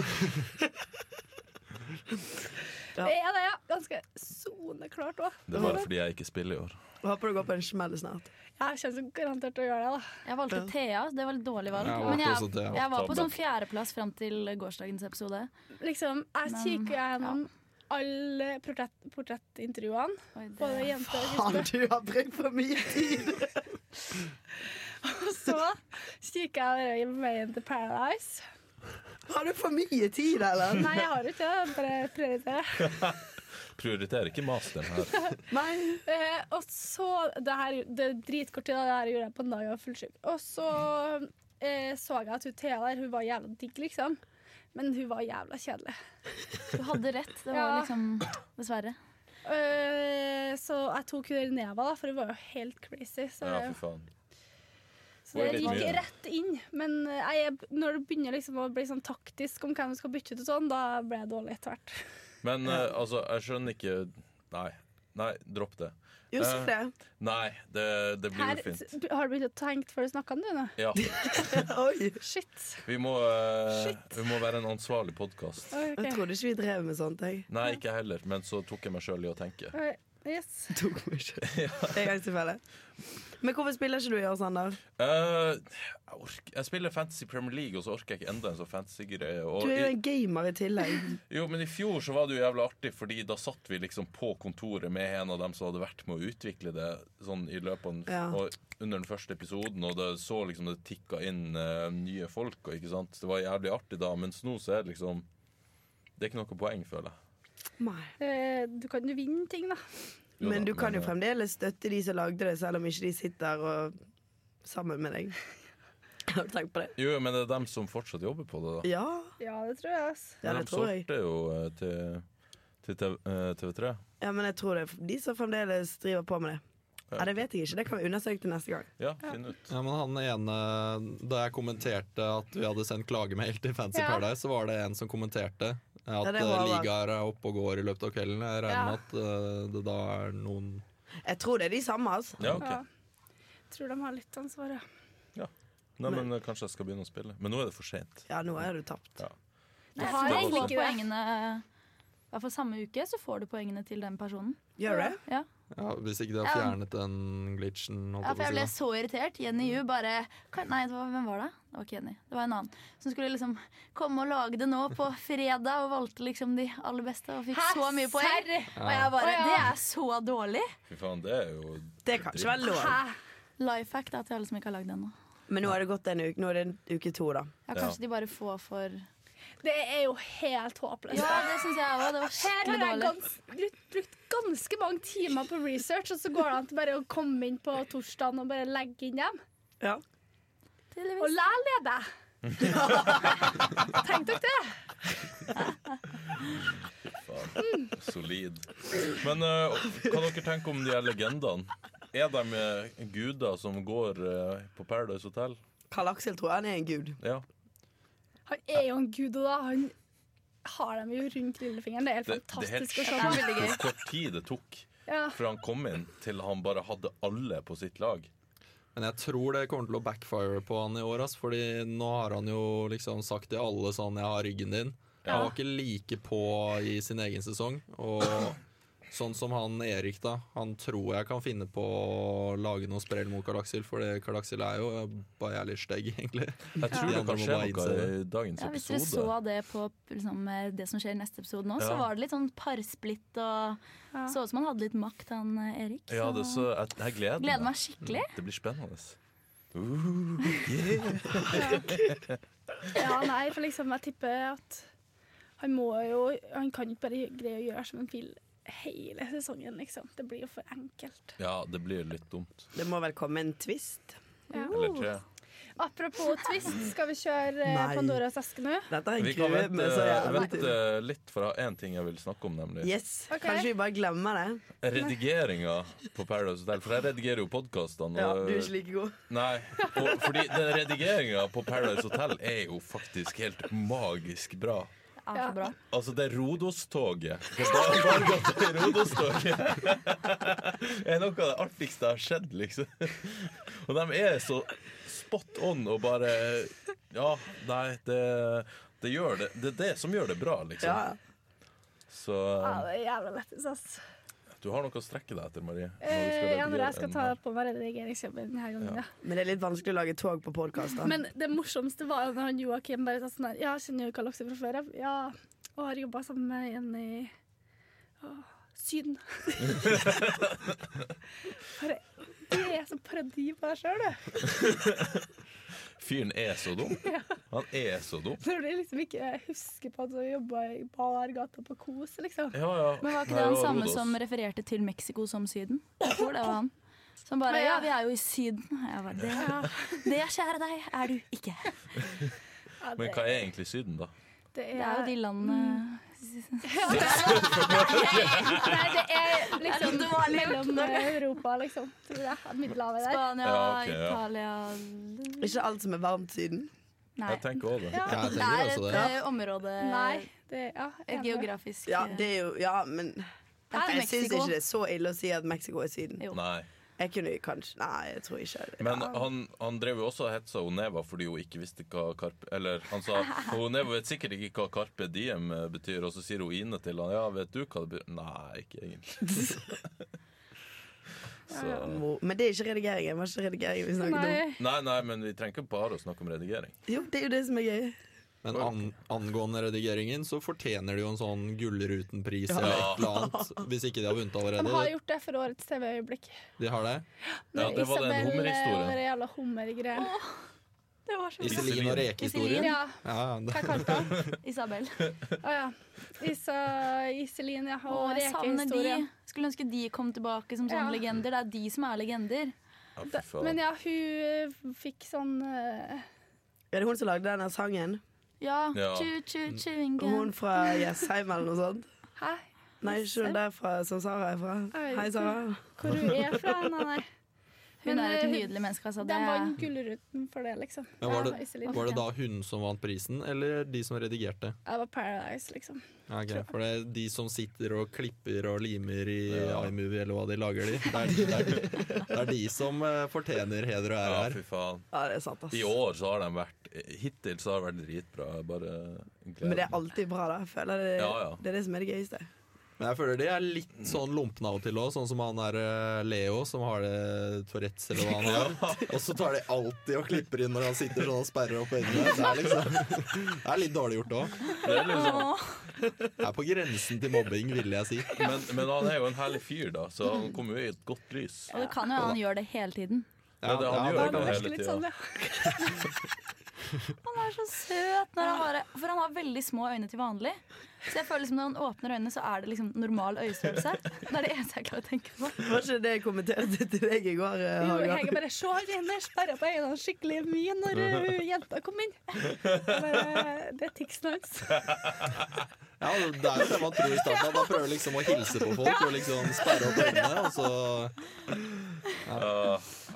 Speaker 3: Det er det, ja. Ganske soneklart òg.
Speaker 2: Det er bare fordi jeg ikke spiller i år.
Speaker 1: Håper du går på en smell snart.
Speaker 3: Jeg kommer så garantert til å gjøre det. da
Speaker 5: Jeg valgte
Speaker 1: Ja.
Speaker 5: Thea, så det var litt dårlig valg.
Speaker 4: Jeg
Speaker 5: Men
Speaker 4: valgte
Speaker 5: jeg,
Speaker 4: også Thea.
Speaker 5: jeg var på
Speaker 2: Tabbe.
Speaker 5: sånn fjerdeplass fram til gårsdagens episode.
Speaker 3: Liksom, Jeg
Speaker 5: Men,
Speaker 3: kikker gjennom alle portrett, portrettintervjuene.
Speaker 5: Oi, det-
Speaker 3: Både jenter og
Speaker 1: Faen,
Speaker 3: gutter.
Speaker 1: du har brukt for mye tid!
Speaker 3: Og så kikker jeg i veien til Paradise.
Speaker 1: Har du for mye tid, eller?
Speaker 3: Nei, jeg har ikke det. jeg Bare prioriterer.
Speaker 2: Prioriterer ikke masteren her.
Speaker 1: Nei.
Speaker 3: Eh, og så Det her det er dritkort tid, da. det her gjorde jeg på en dag jeg var fullsjuk. Og så eh, så jeg at hun Thea der, hun var jævla digg, liksom. Men hun var jævla kjedelig.
Speaker 5: Du hadde rett. Det var
Speaker 3: Ja.
Speaker 5: liksom Dessverre.
Speaker 3: Eh, så jeg tok hun Neva, da, for hun var jo helt crazy. Så,
Speaker 2: Ja, fy faen.
Speaker 3: så det
Speaker 2: Hun er litt
Speaker 3: gikk
Speaker 2: mye.
Speaker 3: rett inn. Men eh, jeg, er- når det begynner liksom å bli sånn taktisk om hvem du skal bytte ut, og sånn, da ble jeg dårlig etter hvert.
Speaker 2: Men eh, altså, jeg skjønner ikke Nei. Nei, dropp det.
Speaker 1: Jo, si det.
Speaker 2: Nei, det, det blir
Speaker 3: Her,
Speaker 2: jo fint.
Speaker 3: s- har du begynt å tenke før du snakka nå? nå?
Speaker 2: Ja.
Speaker 1: Oi.
Speaker 3: Shit.
Speaker 2: Vi må, eh, vi må være en ansvarlig podkast.
Speaker 3: Ok.
Speaker 1: Jeg trodde ikke vi drev med sånt, jeg.
Speaker 2: Nei, ikke heller, men så tok jeg meg sjøl i å tenke.
Speaker 3: Ok, Eh, Yes.
Speaker 1: Tok meg ikke. En gang tilfelle. Men hvorfor spiller ikke du i år, Sander?
Speaker 2: Eh, jeg, orker, jeg spiller Fantasy Premier League, og så orker jeg ikke enda en sånn fantasy-greie.
Speaker 1: Du
Speaker 2: Og
Speaker 1: er jo
Speaker 2: i-
Speaker 1: en gamer i tillegg.
Speaker 2: Jo, men i fjor så var det jo jævla artig, fordi da satt vi liksom på kontoret med en av dem som hadde vært med å utvikle det sånn i løpet av den,
Speaker 1: Ja.
Speaker 2: og under den første episoden, og det så liksom det tikka inn eh, nye folk, og ikke sant. Det var jævlig artig da, mens nå så er det liksom Det er ikke noe poeng, føler jeg.
Speaker 1: Nei.
Speaker 3: Eh, du kan jo vinne ting, da.
Speaker 2: Jo
Speaker 1: Men
Speaker 2: da,
Speaker 1: du kan jo
Speaker 2: eh,
Speaker 1: fremdeles støtte de som lagde det, selv om ikke de sitter og sammen med deg. Har du tenkt på det?
Speaker 2: Jo, men det er dem som fortsatt jobber på det, da.
Speaker 1: Ja,
Speaker 3: Ja, det tror jeg. ass.
Speaker 1: ja
Speaker 2: Men
Speaker 1: det
Speaker 2: de
Speaker 1: tror jeg.
Speaker 2: sorter jo eh, til, til TV, eh, TV3.
Speaker 1: Ja, men jeg tror det er de som fremdeles driver på med det.
Speaker 2: Ja.
Speaker 1: Ja, Det vet jeg ikke. Det kan vi undersøke til neste gang.
Speaker 2: Ja, finn ut.
Speaker 4: Ja, men han ene, Da jeg kommenterte at vi hadde sendt klagemail til Fancy
Speaker 3: Ja.
Speaker 4: Paradise, så var det en som kommenterte at
Speaker 1: Ja, det
Speaker 4: eh,
Speaker 1: var det.
Speaker 4: ligaer er oppe og går i løpet av kvelden. Jeg regner
Speaker 3: Ja.
Speaker 4: med at eh, det da er noen
Speaker 1: Jeg tror det er de samme, altså.
Speaker 2: Ja, OK.
Speaker 3: Ja. Tror de har litt ansvar, ja.
Speaker 2: Nei, men eh, kanskje jeg skal begynne å spille. Men nå er det for seint.
Speaker 1: Ja, nå er du tapt.
Speaker 2: Ja.
Speaker 5: Du
Speaker 3: jeg
Speaker 5: har
Speaker 2: tror
Speaker 5: egentlig
Speaker 3: ikke det.
Speaker 5: poengene I hvert fall samme uke så får du poengene til den personen.
Speaker 1: Gjør du det?
Speaker 5: Ja,
Speaker 4: ja, Hvis ikke de har
Speaker 5: Ja.
Speaker 4: fjernet den glitchen. Holdt
Speaker 5: ja for jeg ble
Speaker 4: jeg på å si.
Speaker 5: så irritert. Jenny Yu bare kan- Nei, det var, hvem var det? Det var ikke Jenny. Det var en annen. Som skulle liksom komme og lage det nå på fredag, og valgte liksom de aller beste og fikk så mye poeng.
Speaker 3: Serr!
Speaker 5: Og jeg bare
Speaker 3: Å, ja.
Speaker 5: Det er så dårlig!
Speaker 2: Fy faen, det er jo
Speaker 1: Det kan ikke være lov.
Speaker 5: Life hack da, til alle som ikke har lagd det ennå.
Speaker 1: Men nå har det gått en uke. Nå er det uke to, da.
Speaker 5: Ja, kanskje de bare får for
Speaker 3: Det er jo helt håpløst.
Speaker 5: Ja, det syns jeg òg. Det var
Speaker 3: Her har
Speaker 5: skikkelig
Speaker 3: jeg
Speaker 5: dårlig.
Speaker 3: gans, brukt, brukt ganske mange timer på research, og så går det an til bare å komme inn på torsdagen og bare legge inn dem.
Speaker 1: Ja.
Speaker 3: Og læl leder! Tenk dere det!
Speaker 2: Faen, solid. Men eh, hva dere tenker om de her legendene? Er de eh, guder som går eh, på Paradise Hotel?
Speaker 1: Karl Aksel tror han er en gud.
Speaker 2: Ja.
Speaker 3: Han er jo en gud, og da han har dem jo rundt lillefingeren. Det er helt
Speaker 2: Det, det er helt
Speaker 3: fantastisk å se på.
Speaker 2: sjukt hvor kort tid det tok
Speaker 3: Ja.
Speaker 2: fra han kom inn, til han bare hadde alle på sitt lag.
Speaker 4: Men jeg tror det kommer til å backfire på han i år, ass, fordi nå har han jo liksom sagt til alle sånn 'jeg har ryggen din'. Han var ikke like på i sin egen sesong. Og sånn som han Erik, da. Han tror jeg kan finne på å lage noe sprell mot Karl Aksel, for det Karl Aksel er jo bare jævlig stygg, egentlig.
Speaker 2: Jeg tror
Speaker 4: Ja.
Speaker 2: det kan skje
Speaker 4: De andre må
Speaker 2: noe
Speaker 4: bare innse
Speaker 2: i dagens
Speaker 5: Ja, hvis dere så
Speaker 2: episode.
Speaker 5: det på liksom, det som skjer i neste episode nå, så
Speaker 2: Ja.
Speaker 5: var det litt sånn parsplitt og
Speaker 3: Ja.
Speaker 5: Så ut som han hadde litt makt, han eh, Erik.
Speaker 2: Ja, det er så, jeg, jeg gleder
Speaker 5: gleder
Speaker 2: meg.
Speaker 5: meg skikkelig.
Speaker 2: Det blir spennende.
Speaker 3: ja, nei, for liksom, jeg tipper at han må jo Han kan ikke bare greie å gjøre som han vil hele sesongen, liksom. Det blir jo for enkelt.
Speaker 2: Ja, det blir litt dumt.
Speaker 1: Det må vel komme en twist.
Speaker 3: Ja.
Speaker 2: Eller tre.
Speaker 3: Apropos twist, skal vi kjøre eh,
Speaker 1: Nei.
Speaker 3: Pandoras eske nå?
Speaker 1: Dette har
Speaker 2: Vi
Speaker 1: jeg
Speaker 2: kan
Speaker 1: gruet
Speaker 2: vente,
Speaker 1: meg så jævlig til.
Speaker 2: vente litt, for jeg har én ting jeg vil snakke om, nemlig.
Speaker 1: Yes.
Speaker 3: Ok.
Speaker 1: Kanskje vi bare glemmer det?
Speaker 2: Redigeringa på Paradise Hotel. For jeg redigerer jo podkastene.
Speaker 1: Ja, du er ikke like god.
Speaker 2: Nei, og fordi den redigeringa på Paradise Hotel er jo faktisk helt magisk bra.
Speaker 5: Ja,
Speaker 3: Ja.
Speaker 5: så bra.
Speaker 2: Altså, det Rodos-toget Det var Margot i Rodos-toget er noe av det artigste jeg har sett, liksom. Og de er så spot on og bare Ja, nei, det, det gjør det. Det er det som gjør det bra,
Speaker 1: Ja.
Speaker 2: liksom. Så
Speaker 3: Ja, det er jævla lættis, ass.
Speaker 2: du har noe å strekke deg etter, Marie. når du skal
Speaker 3: Eh, ja, når
Speaker 2: redigere
Speaker 3: jeg skal
Speaker 2: den
Speaker 3: ta
Speaker 2: her.
Speaker 3: på meg redigeringsjobben denne gangen, ja.
Speaker 1: Men det er litt vanskelig å lage tog på podkast.
Speaker 3: Men det morsomste var jo når han Joakim bare sa sånn her Ja, kjenner du Karl Aksel fra før av? Ja. Og har jobba sammen med en i Åh, Syden. bare Du er så parodi på deg sjøl, du.
Speaker 2: Fyren er så dum. Han er så dum.
Speaker 3: Når du liksom ikke husker på at du jobba i bargata på Kos, liksom.
Speaker 2: Ja, ja.
Speaker 5: Men var ikke
Speaker 2: Nei,
Speaker 5: det han
Speaker 2: og
Speaker 5: samme
Speaker 2: Rodos.
Speaker 5: som refererte til Mexico som Syden? Jeg tror det var han. Som bare
Speaker 3: Ja, ja.
Speaker 5: Ja, vi er jo i Syden. Jeg bare, det,
Speaker 3: Ja,
Speaker 5: det, kjære deg, er du ikke.
Speaker 3: ja,
Speaker 2: Men hva er egentlig Syden, da?
Speaker 5: Det er jo de landene
Speaker 3: Nei, det er liksom
Speaker 5: Det var litt
Speaker 3: mellom Europa, liksom. Tror jeg. Middelhavet der.
Speaker 5: Spania,
Speaker 2: Ja, ok, ja.
Speaker 5: Italia
Speaker 1: Ikke alt som er varmt siden.
Speaker 5: Nei.
Speaker 2: Jeg tenker også det.
Speaker 3: Ja.
Speaker 4: Jeg
Speaker 5: Det
Speaker 4: tenker
Speaker 5: er
Speaker 4: også
Speaker 5: et
Speaker 4: det.
Speaker 5: eh, område
Speaker 3: Nei, det ja,
Speaker 5: Et
Speaker 3: enig.
Speaker 5: geografisk
Speaker 1: Ja,
Speaker 5: eh,
Speaker 1: det er jo Ja, men
Speaker 5: Det er
Speaker 1: jeg syns
Speaker 5: Mexico.
Speaker 1: ikke det er så ille å si at Mexico er Syden.
Speaker 5: Jo.
Speaker 2: Nei.
Speaker 1: Jeg kunne kanskje Nei, jeg tror ikke det.
Speaker 2: Men han, han drev jo også og hetsa hun Neva fordi hun ikke visste hva Karpe Eller han sa hun Neva vet sikkert ikke hva Karpe Diem eh, betyr, og så sier hun Ine til han ja, vet du hva det betyr? Nei, ikke egentlig. Så
Speaker 1: Mo- Men det er ikke redigeringen. Var ikke redigeringen vi snakket om?
Speaker 3: Nei.
Speaker 2: Nei, nei, men vi trenger ikke bare å snakke om redigering.
Speaker 1: Jo, det er jo det som er gøy.
Speaker 4: Men an angående redigeringen, så fortjener de jo en sånn Gullruten-pris eller et eller annet. Hvis ikke de har vunnet
Speaker 3: De har
Speaker 4: allerede.
Speaker 3: gjort det for årets TV-øyeblikk.
Speaker 4: De har det.
Speaker 2: Ja, det var den
Speaker 3: Isabel
Speaker 2: hummerhistorien.
Speaker 3: og den jævla hummergreia.
Speaker 5: Det var så bra.
Speaker 4: Iselin og
Speaker 5: Iselin,
Speaker 4: rekehistorien.
Speaker 3: Ja,
Speaker 4: Ja, ja, det-
Speaker 3: hva kalte hun?
Speaker 5: Isabel.
Speaker 3: Å ja. Isa, Iselin ja,
Speaker 5: Og
Speaker 3: og
Speaker 5: jeg savner de.
Speaker 3: rekehistorien.
Speaker 5: Skulle ønske de kom tilbake som sånne
Speaker 3: Ja.
Speaker 5: legender. Det er de som er legender.
Speaker 2: Ja, fy
Speaker 3: Men
Speaker 2: faen.
Speaker 3: ja, hun fikk sånn eh,
Speaker 1: Er det hun som lagde denne sangen?
Speaker 5: Ja.
Speaker 2: Ja.
Speaker 5: Chew, chew, chewing
Speaker 1: Hun
Speaker 5: gum.
Speaker 1: fra Jessheim eller noe sånt?
Speaker 3: Hæ?
Speaker 1: Nei, ikke hun der fra, som Sara er fra.
Speaker 3: Oi.
Speaker 1: Hei, Sara.
Speaker 3: Hvor hun er fra? Nei, nei.
Speaker 5: Hun
Speaker 3: Men,
Speaker 5: er et
Speaker 3: eh,
Speaker 5: nydelig menneske, altså. Det
Speaker 3: De
Speaker 5: er
Speaker 3: vant Gullruten for det, liksom.
Speaker 4: Men var
Speaker 3: Ja,
Speaker 4: det-
Speaker 3: Iselin.
Speaker 4: Var det da hun som vant prisen, eller de som redigerte?
Speaker 3: Jeg var Paradise, liksom.
Speaker 4: Ja, ok. For det er de som sitter og klipper og limer i
Speaker 2: Ja.
Speaker 4: iMovie, eller hva de lager de. Det er, det er, det er de som eh, fortjener heder og ære
Speaker 2: Ja,
Speaker 4: her.
Speaker 2: fy faen.
Speaker 1: Ja, det er sant, ass.
Speaker 2: I år så har de vært Hittil så har det vært dritbra. Bare gleder
Speaker 1: Men det
Speaker 2: meg.
Speaker 1: er alltid bra, da. Jeg føler det,
Speaker 2: Ja, ja.
Speaker 1: det er det som er det gøyeste.
Speaker 4: Men jeg føler de er litt sånn lumpne av og til òg, sånn som han der eh, Leo, som har det Tourettes eller hva han har. Og så tar de alltid og klipper inn når han sitter sånn og sperrer opp øynene. Det er, liksom, det er litt dårlig gjort òg.
Speaker 2: Det er liksom,
Speaker 4: Det er på grensen til mobbing, vil jeg si.
Speaker 2: men, men han er jo en herlig fyr, da, så han kommer jo i et godt lys.
Speaker 5: Og det kan jo han gjør det hele tiden.
Speaker 2: Ja, det, han
Speaker 4: ja,
Speaker 2: gjør jo altså.
Speaker 4: det kan
Speaker 2: det
Speaker 4: jeg.
Speaker 2: hele
Speaker 3: litt
Speaker 2: tida.
Speaker 3: sånn, ja.
Speaker 5: Han er så søt når han bare For han har veldig små øyne til vanlig. Så jeg føler liksom når han åpner øynene, så er det liksom normal øyestørrelse. Det er det eneste jeg klarer å tenke på.
Speaker 1: Var ikke det jeg kommenterte til deg i går? eh,
Speaker 3: Jo,
Speaker 1: Haga?
Speaker 3: Hege bare Se, Reine sperra på øynene skikkelig mye når eh, jenta kom inn. Jeg Bare, det er tiksen hans.
Speaker 4: Ja, det er jo det man tror i starten. at Man prøver liksom å hilse på folk og liksom sperre opp øynene. Og så
Speaker 2: Ja,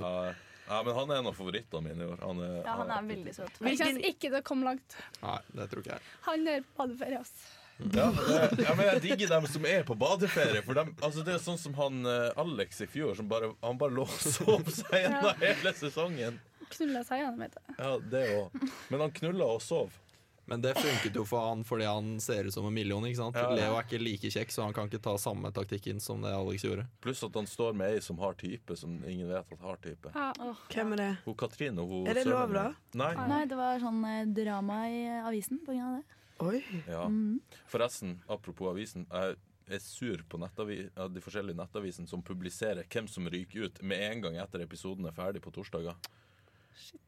Speaker 2: ja. Ja, men han er en av favorittene mine i år. Han er,
Speaker 5: Ja, han er veldig søt.
Speaker 3: Det kjennes ikke det kom langt.
Speaker 4: Nei, det tror ikke jeg.
Speaker 3: Han er på badeferie, altså.
Speaker 2: Ja, det- ja, men jeg digger dem som er på badeferie. For dem, altså det er sånn som han eh, Alex i fjor, som bare, han bare lå og sov seg gjennom hele sesongen.
Speaker 3: Knulla seg gjennom, heter det.
Speaker 2: Ja, det også. Men han knulla og sov.
Speaker 4: Men det funket jo for han fordi han ser ut som en million. ikke sant?
Speaker 2: Ja, ja.
Speaker 4: Leo er ikke like kjekk, så han kan ikke ta samme taktikken som det Alex gjorde.
Speaker 2: Pluss at han står med ei som har type, som ingen vet at har type.
Speaker 3: Ja.
Speaker 5: Åh.
Speaker 1: Hvem er det?
Speaker 2: Hun Katrine hun
Speaker 1: Er det lov,
Speaker 2: sønnen min. Nei.
Speaker 5: Nei, det var sånn eh, drama i eh, avisen på grunn av det.
Speaker 1: Oi.
Speaker 2: Ja.
Speaker 1: Mm.
Speaker 2: Forresten, apropos avisen. Jeg er sur på nettavi ja, de forskjellige nettavisene som publiserer hvem som ryker ut med en gang etter episoden er ferdig på torsdager.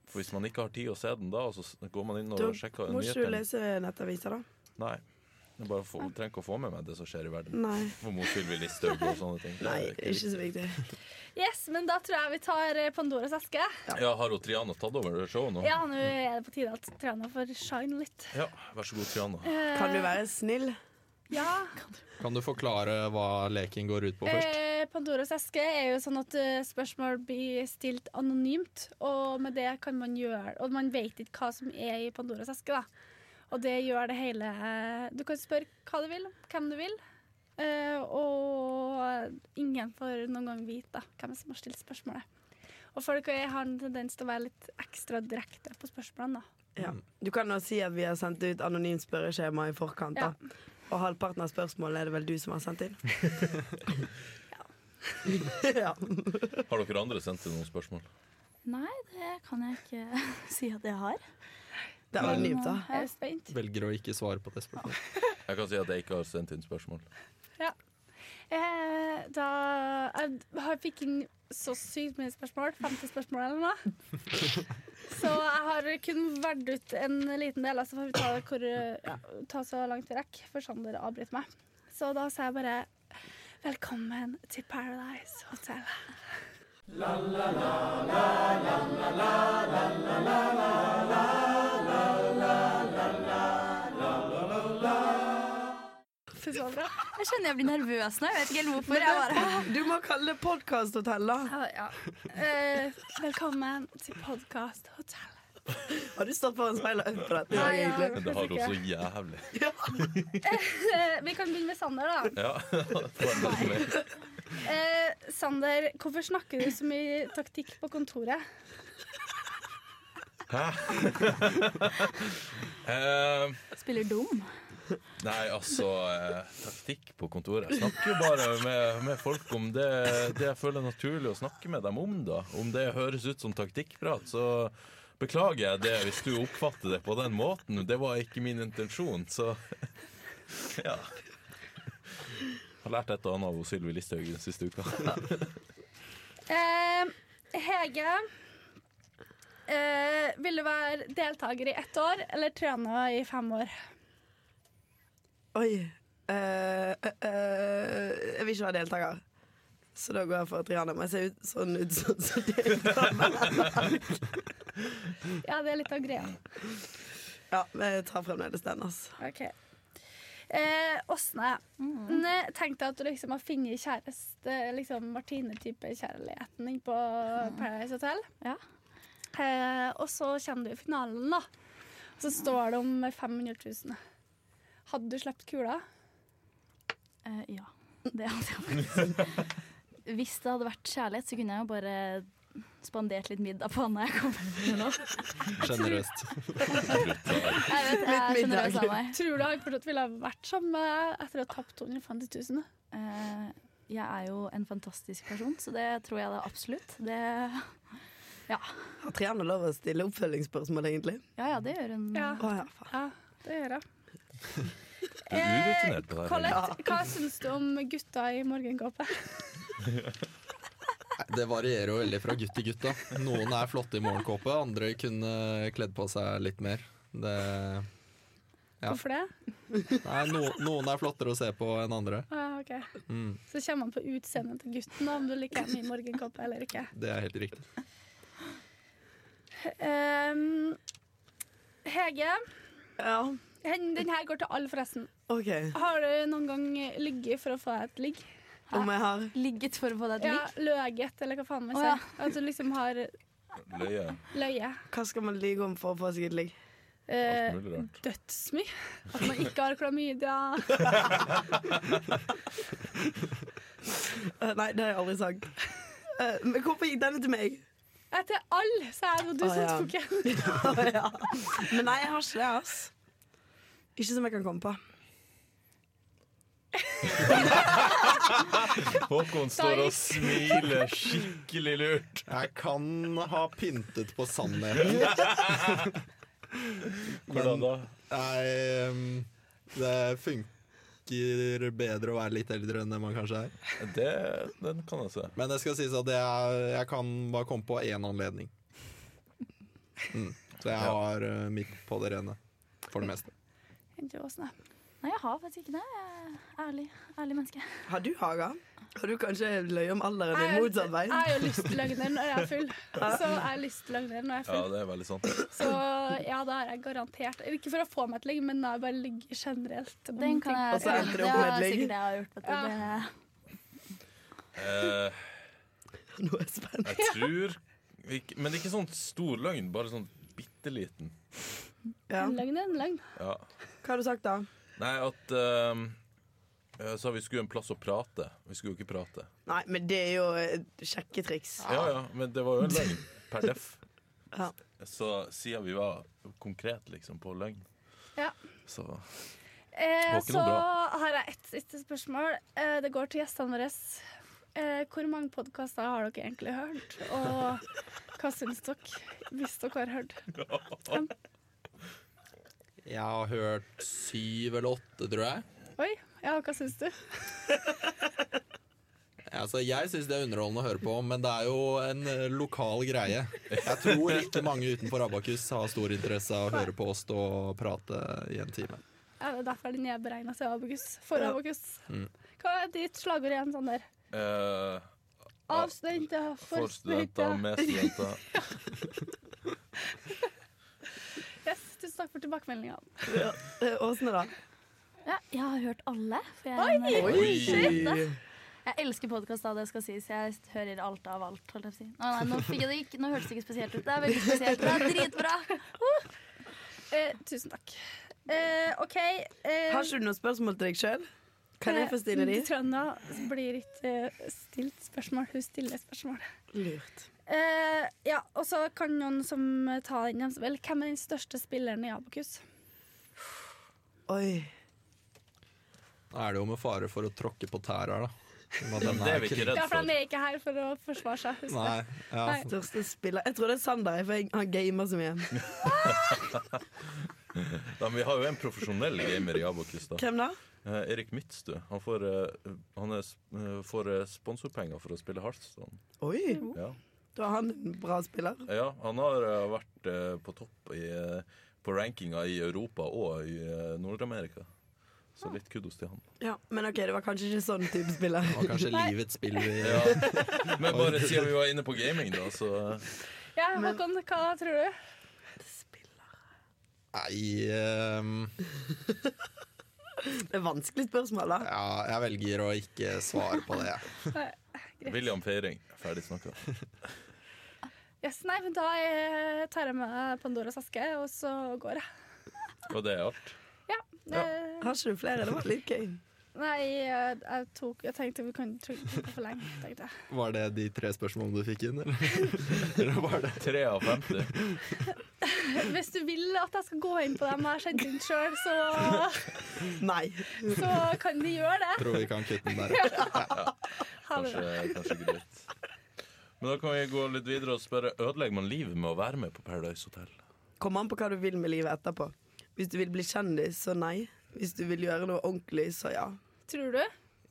Speaker 2: For Hvis man ikke har tid å se den da, og så s- går man inn og
Speaker 1: Da
Speaker 2: sjekker
Speaker 1: Må ikke du
Speaker 2: nyhetene
Speaker 1: lese nettaviser, da?
Speaker 2: Nei. Jeg bare får, trenger ikke å få med meg det som skjer i verden.
Speaker 1: Ah. Nei.
Speaker 2: For mot Sylvi Listhaug og sånne ting. Det er
Speaker 1: Nei,
Speaker 2: ikke
Speaker 1: det er ikke så viktig.
Speaker 3: Yes, men da tror jeg vi tar eh, Pandoras eske.
Speaker 2: riktig. Ja, Har hun Triana tatt over showet nå?
Speaker 3: Ja, nå er det på tide at Triana får shine litt.
Speaker 2: Ja, Vær så god, Triana.
Speaker 1: Kan du være snill?
Speaker 3: Ja,
Speaker 4: Kan du forklare hva leken går ut på først?
Speaker 3: Eh, Pandoras eske er jo sånn at eh, spørsmål blir stilt anonymt, og med det kan man gjøre Og man vet ikke hva som er i Pandoras eske, da. Og det gjør det hele eh, Du kan spørre hva du vil, hvem du vil, eh, og ingen får noen gang vite da, hvem som har stilt spørsmålet. Og folk eh, har en tendens til å være litt ekstra direkte på spørsmålene, da.
Speaker 1: Ja. Du kan jo si at vi har sendt ut anonymt spørreskjema i forkant. da Og halvparten av spørsmålene er det vel du som har sendt inn? ja.
Speaker 2: Har dere andre sendt inn noen spørsmål?
Speaker 5: Nei, det kan jeg ikke si at jeg har.
Speaker 1: Det er anonymt, da.
Speaker 3: Jeg er spent.
Speaker 4: Velger å ikke svare på det spørsmålet.
Speaker 2: Jeg kan si at jeg ikke har sendt inn spørsmål.
Speaker 3: Eh, da jeg, har- fikk inn så sykt mye spørsmål. 50 spørsmål eller noe. Så jeg har kun valgt ut en liten del, altså får vi ta, det hvor, ja, ta så langt vi rekker, for Sander avbryter meg. Så da sier jeg bare velkommen til Paradise Hotel. Fy så bra.
Speaker 5: Jeg kjenner jeg blir nervøs nå. Jeg vet ikke helt hvorfor. Jeg bare
Speaker 1: Du må kalle det podkasthotell, da.
Speaker 3: Ja, ja. Eh, velkommen til Podcast Hotel.
Speaker 1: Har du stått foran speilet og øvd på dette? i dag,
Speaker 3: Nei, ja.
Speaker 1: egentlig?
Speaker 2: Men det har hun så jævlig.
Speaker 3: Eh, vi kan begynne med Sander, da.
Speaker 2: Ja, det var det som er.
Speaker 3: Eh, Sander, hvorfor snakker du så mye taktikk på kontoret?
Speaker 2: Eh,
Speaker 5: spiller dum.
Speaker 2: nei, altså eh, Taktikk på kontoret. Jeg snakker jo bare med, med folk om det, det jeg føler er naturlig å snakke med dem om. da Om det høres ut som taktikkprat, så beklager jeg det hvis du oppfatter det på den måten. Det var ikke min intensjon, så ja. Jeg har lært et og annet av Sylvi Listhaug den siste uka.
Speaker 3: Eh, Hege, eh, vil du være deltaker i ett år eller Triana i fem år?
Speaker 1: Oi. Eh, eh, eh, jeg vil ikke være deltaker. Så da går jeg for Triana. Men jeg ser ut, sånn ut sånn som deltaker.
Speaker 3: Ja, det er litt av greia.
Speaker 1: Ja, men jeg tar fremdeles den, altså.
Speaker 3: Ok. Eh, Åsne, ne- tenk deg at du liksom har funnet kjæreste, liksom Martine-type kjærligheten inn på Paradise Hotel.
Speaker 5: Ja.
Speaker 3: Eh, og så kommer du i finalen, da. Så står det om 500 000. Hadde du sluppet kula?
Speaker 5: Eh, ja. Det hadde jeg faktisk. Hvis det hadde vært kjærlighet, så kunne jeg jo bare spandert litt middag på han når jeg kommer hjem nå.
Speaker 4: Generøst.
Speaker 5: Jeg vet, jeg
Speaker 1: Litt
Speaker 5: er
Speaker 1: middag.
Speaker 5: generøs av meg.
Speaker 3: Tror du han fortsatt ville ha vært sammen med deg etter å ha tapt 250 000?
Speaker 5: Eh, jeg er jo en fantastisk person, så det tror jeg da absolutt. Det,
Speaker 1: Har Triana lov å stille oppfølgingsspørsmål, egentlig?
Speaker 5: ja ja, det gjør hun.
Speaker 3: Ja.
Speaker 1: Å, ja, faen.
Speaker 3: Ja, det gjør jeg.
Speaker 2: Du er urutinert på det her.
Speaker 3: Collette, hva syns du om gutta i morgenkåpe?
Speaker 4: Det varierer jo veldig fra gutt til gutt. da Noen er flotte i morgenkåpe, andre kunne kledd på seg litt mer. Det, Ja.
Speaker 3: Hvorfor det?
Speaker 4: nei, no, noen er flottere å se på enn andre.
Speaker 3: Ah, ok.
Speaker 4: Mm,
Speaker 3: Så kommer man på utseendet til gutten, da, om du liker ham i morgenkåpe eller ikke.
Speaker 4: det er helt riktig.
Speaker 3: Ehm, Hege,
Speaker 1: Ja,
Speaker 3: den, den her går til alle, forresten.
Speaker 1: OK.
Speaker 3: Har du noen gang ligget for å få deg et ligg?
Speaker 1: Om jeg har
Speaker 5: Ligget for å få deg et
Speaker 3: Ja,
Speaker 5: ligg?
Speaker 3: løget, eller hva faen man
Speaker 5: Å,
Speaker 3: sier. At du liksom har
Speaker 2: Løye.
Speaker 3: løye.
Speaker 1: Hva skal man lyve om for å få seg et ligg?
Speaker 3: Eh,
Speaker 2: mulig rart.
Speaker 3: Dødsmye. At man ikke har klamydia.
Speaker 1: Eh, nei, det har jeg aldri sagt. Eh, men hvorfor gikk denne til meg?
Speaker 3: Jeg til alle, sa jeg, og du
Speaker 1: Å,
Speaker 3: som
Speaker 1: ja.
Speaker 3: tok en.
Speaker 1: Å, ja. Men nei, jeg har ikke det, ass. Ikke som jeg kan komme på.
Speaker 2: Håkon står og smiler skikkelig lurt.
Speaker 4: Jeg kan ha pyntet på sannheten.
Speaker 2: Hvordan da?
Speaker 4: Nei, um, det funker bedre å være litt eldre enn det man kanskje er.
Speaker 2: Det, den kan jeg se.
Speaker 4: Men det skal sies at jeg, jeg kan bare komme på én anledning. Mm. Så jeg har uh, mitt på det rene, for det meste.
Speaker 3: Henter jo åsene.
Speaker 5: Nei, jeg har faktisk ikke det. Jeg er Ærlig, ærlig menneske.
Speaker 1: Har du Haga? Har du kanskje løyet om alderen
Speaker 3: Jeg
Speaker 1: din
Speaker 3: er-
Speaker 1: motsatt vei?
Speaker 3: Jeg er jo lystløgner når jeg er full. Så jeg er lystløgner når jeg er
Speaker 2: Ja,
Speaker 3: full.
Speaker 2: det er veldig sant.
Speaker 3: Så ja, da er jeg garantert Ikke for å få meg et ligg, men da er jeg bare ligg generelt. om
Speaker 5: Den kan
Speaker 3: ting.
Speaker 5: jeg
Speaker 1: Og så endte det opp med
Speaker 5: er
Speaker 1: et ligg.
Speaker 5: sikkert det jeg har gjort. Vet du. Det,
Speaker 2: Eh,
Speaker 1: Nå er jeg spent.
Speaker 2: jeg tror ikke, Men det er ikke sånn stor løgn, bare sånn bitte liten.
Speaker 1: Ja.
Speaker 3: En løgn er en løgn.
Speaker 2: Ja.
Speaker 1: Hva har du sagt da?
Speaker 2: Nei, at ehm, eh, Så vi skulle en plass å prate. Vi skulle jo ikke prate.
Speaker 1: Nei, men det er jo et sjekketriks.
Speaker 2: Ja, ja, men det var jo en løgn per def.
Speaker 1: Ja.
Speaker 2: Så siden vi var konkret liksom på løgn,
Speaker 3: Ja.
Speaker 2: så
Speaker 3: Eh,
Speaker 2: var ikke
Speaker 3: så
Speaker 2: noe
Speaker 3: har jeg ett siste spørsmål. Eh, det går til gjestene våre. Eh, hvor mange podkaster har dere egentlig hørt? Og hva syns dere, hvis dere har hørt?
Speaker 4: Jeg har hørt syv eller åtte, tror jeg.
Speaker 3: Oi, ja, hva syns du?
Speaker 4: Altså, jeg syns det er underholdende å høre på, men det er jo en eh, lokal greie. Jeg tror ikke mange utenfor Abakus har stor interesse av å høre på oss stå og prate i en time.
Speaker 3: Ja, det er derfor den er beregna til Abokus. For
Speaker 1: Ja.
Speaker 3: Abokus.
Speaker 2: Mm.
Speaker 3: Hva er ditt slagord igjen, Sander?
Speaker 2: eh,
Speaker 3: Av studenter,
Speaker 2: For
Speaker 3: for
Speaker 2: studenter,
Speaker 3: studenter.
Speaker 2: med studenter.
Speaker 3: Yes, tusen takk for tilbakemeldinga.
Speaker 1: Ja. Eh, Åsne, da?
Speaker 5: eh, ja, jeg har hørt alle. For jeg, er en- jeg elsker podkast, da det skal sies. Jeg hører alt av alt. Holdt jeg på å si. Å, nei, nå, fikk jeg det ikke, nå hørtes det ikke spesielt ut. Det er veldig spesielt. Det er dritbra.
Speaker 3: Eh, tusen takk. Eh, OK. Eh,
Speaker 1: Har ikke du noe spørsmål til deg sjøl? Kan jeg få stille de?
Speaker 3: eh, Trønda blir ikke eh, stilt spørsmål. Hun stiller spørsmål.
Speaker 1: Lurt.
Speaker 3: Eh, ja, og så kan noen som tar den dem som vil. Hvem er den største spilleren i Abokus?
Speaker 1: Oi.
Speaker 4: Da er det jo med fare for å tråkke på tær her, da. Men
Speaker 2: Men det er vi ikke
Speaker 4: ikke-
Speaker 2: redd
Speaker 3: Ja, for han
Speaker 2: for.
Speaker 3: er ikke her for å forsvare seg. husk det.
Speaker 4: Nei, ja.
Speaker 3: Nei.
Speaker 1: Største spiller Jeg tror det er Sander, for jeg- han gamer så mye.
Speaker 2: Ja, men vi har jo en profesjonell gamer i Abokus. da
Speaker 1: Hvem da?
Speaker 2: eh, Erik Midtstø. Han får, eh, han er, sp- eh, får eh, sponsorpenger for å spille Hearthstone.
Speaker 1: Oi,
Speaker 2: Ja.
Speaker 1: da er han en bra spiller.
Speaker 2: Ja, han har eh, vært eh, på topp i, eh, på rankinga i Europa og i eh, Nord-Amerika. Så litt kudos til han.
Speaker 1: Ja, Men OK, det var kanskje ikke sånn type spiller.
Speaker 4: Det var kanskje livets spill vi
Speaker 2: Ja. Men bare siden vi var inne på gaming, da, så eh,
Speaker 3: Ja, Håkon, hva tror du?
Speaker 4: Nei ehm,
Speaker 1: Det er vanskelig spørsmål, da.
Speaker 4: Ja, jeg velger å ikke svare på det.
Speaker 2: William Feiring. Ferdig snakka.
Speaker 3: Yes, nei, men da eh, tar jeg med Pandoras aske, og så går jeg.
Speaker 2: Og det er alt.
Speaker 3: Ja. eh,
Speaker 1: Har ikke du flere? Det var litt gøy.
Speaker 3: Nei, jeg, jeg, tok, jeg tenkte vi kunne trykke på for lenge. tenkte jeg.
Speaker 4: Var det de tre spørsmålene du fikk inn, eller? eller var det?
Speaker 2: Tre av 50.
Speaker 3: Hvis du vil at jeg skal gå inn på dem jeg har sendt inn sjøl, så,
Speaker 1: Nei.
Speaker 3: så kan de gjøre det.
Speaker 4: Tror vi kan kutte den der.
Speaker 3: Ha det bra.
Speaker 2: Kanskje, kanskje greit. Men da kan vi gå litt videre og spørre ødelegger man livet med å være med på Paradise Hotel.
Speaker 1: Kommer an på hva du vil med livet etterpå. Hvis du vil bli kjendis, så nei. Hvis du vil gjøre noe ordentlig, så ja.
Speaker 3: Tror du?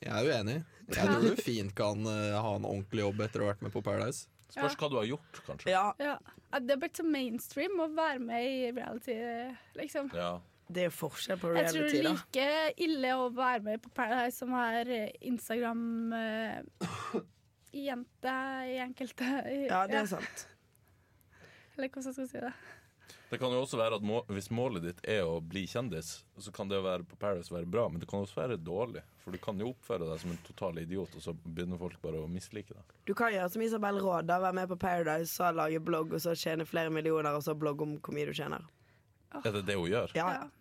Speaker 4: Jeg er uenig. Jeg tror du fint kan eh, ha en ordentlig jobb etter å ha vært med på Paradise.
Speaker 2: Spørs hva du har gjort, kanskje.
Speaker 1: Ja,
Speaker 3: Ja. Ja, Det er blitt så mainstream å være med i reality, liksom.
Speaker 2: Ja.
Speaker 1: det er jo forskjell på
Speaker 3: Jeg tror det
Speaker 1: reality,
Speaker 3: er
Speaker 1: da.
Speaker 3: like ille å være med på Paradise som er Instagram-jente eh, i enkelte
Speaker 1: Ja, det er sant.
Speaker 3: Eller hvordan jeg skal si det.
Speaker 2: Det kan jo også være at må, Hvis målet ditt er å bli kjendis, så kan det å være på Paradise være bra, men det kan også være dårlig. For du kan jo oppføre deg som en total idiot, og så begynner folk bare å mislike deg.
Speaker 1: Du kan gjøre som Isabel Råd, da. Være med på Paradise, så lage blogg, og så tjene flere millioner, og så blogge om hvor mye du tjener.
Speaker 2: Er det det hun gjør?
Speaker 1: Ja,
Speaker 3: Ja.
Speaker 1: ja.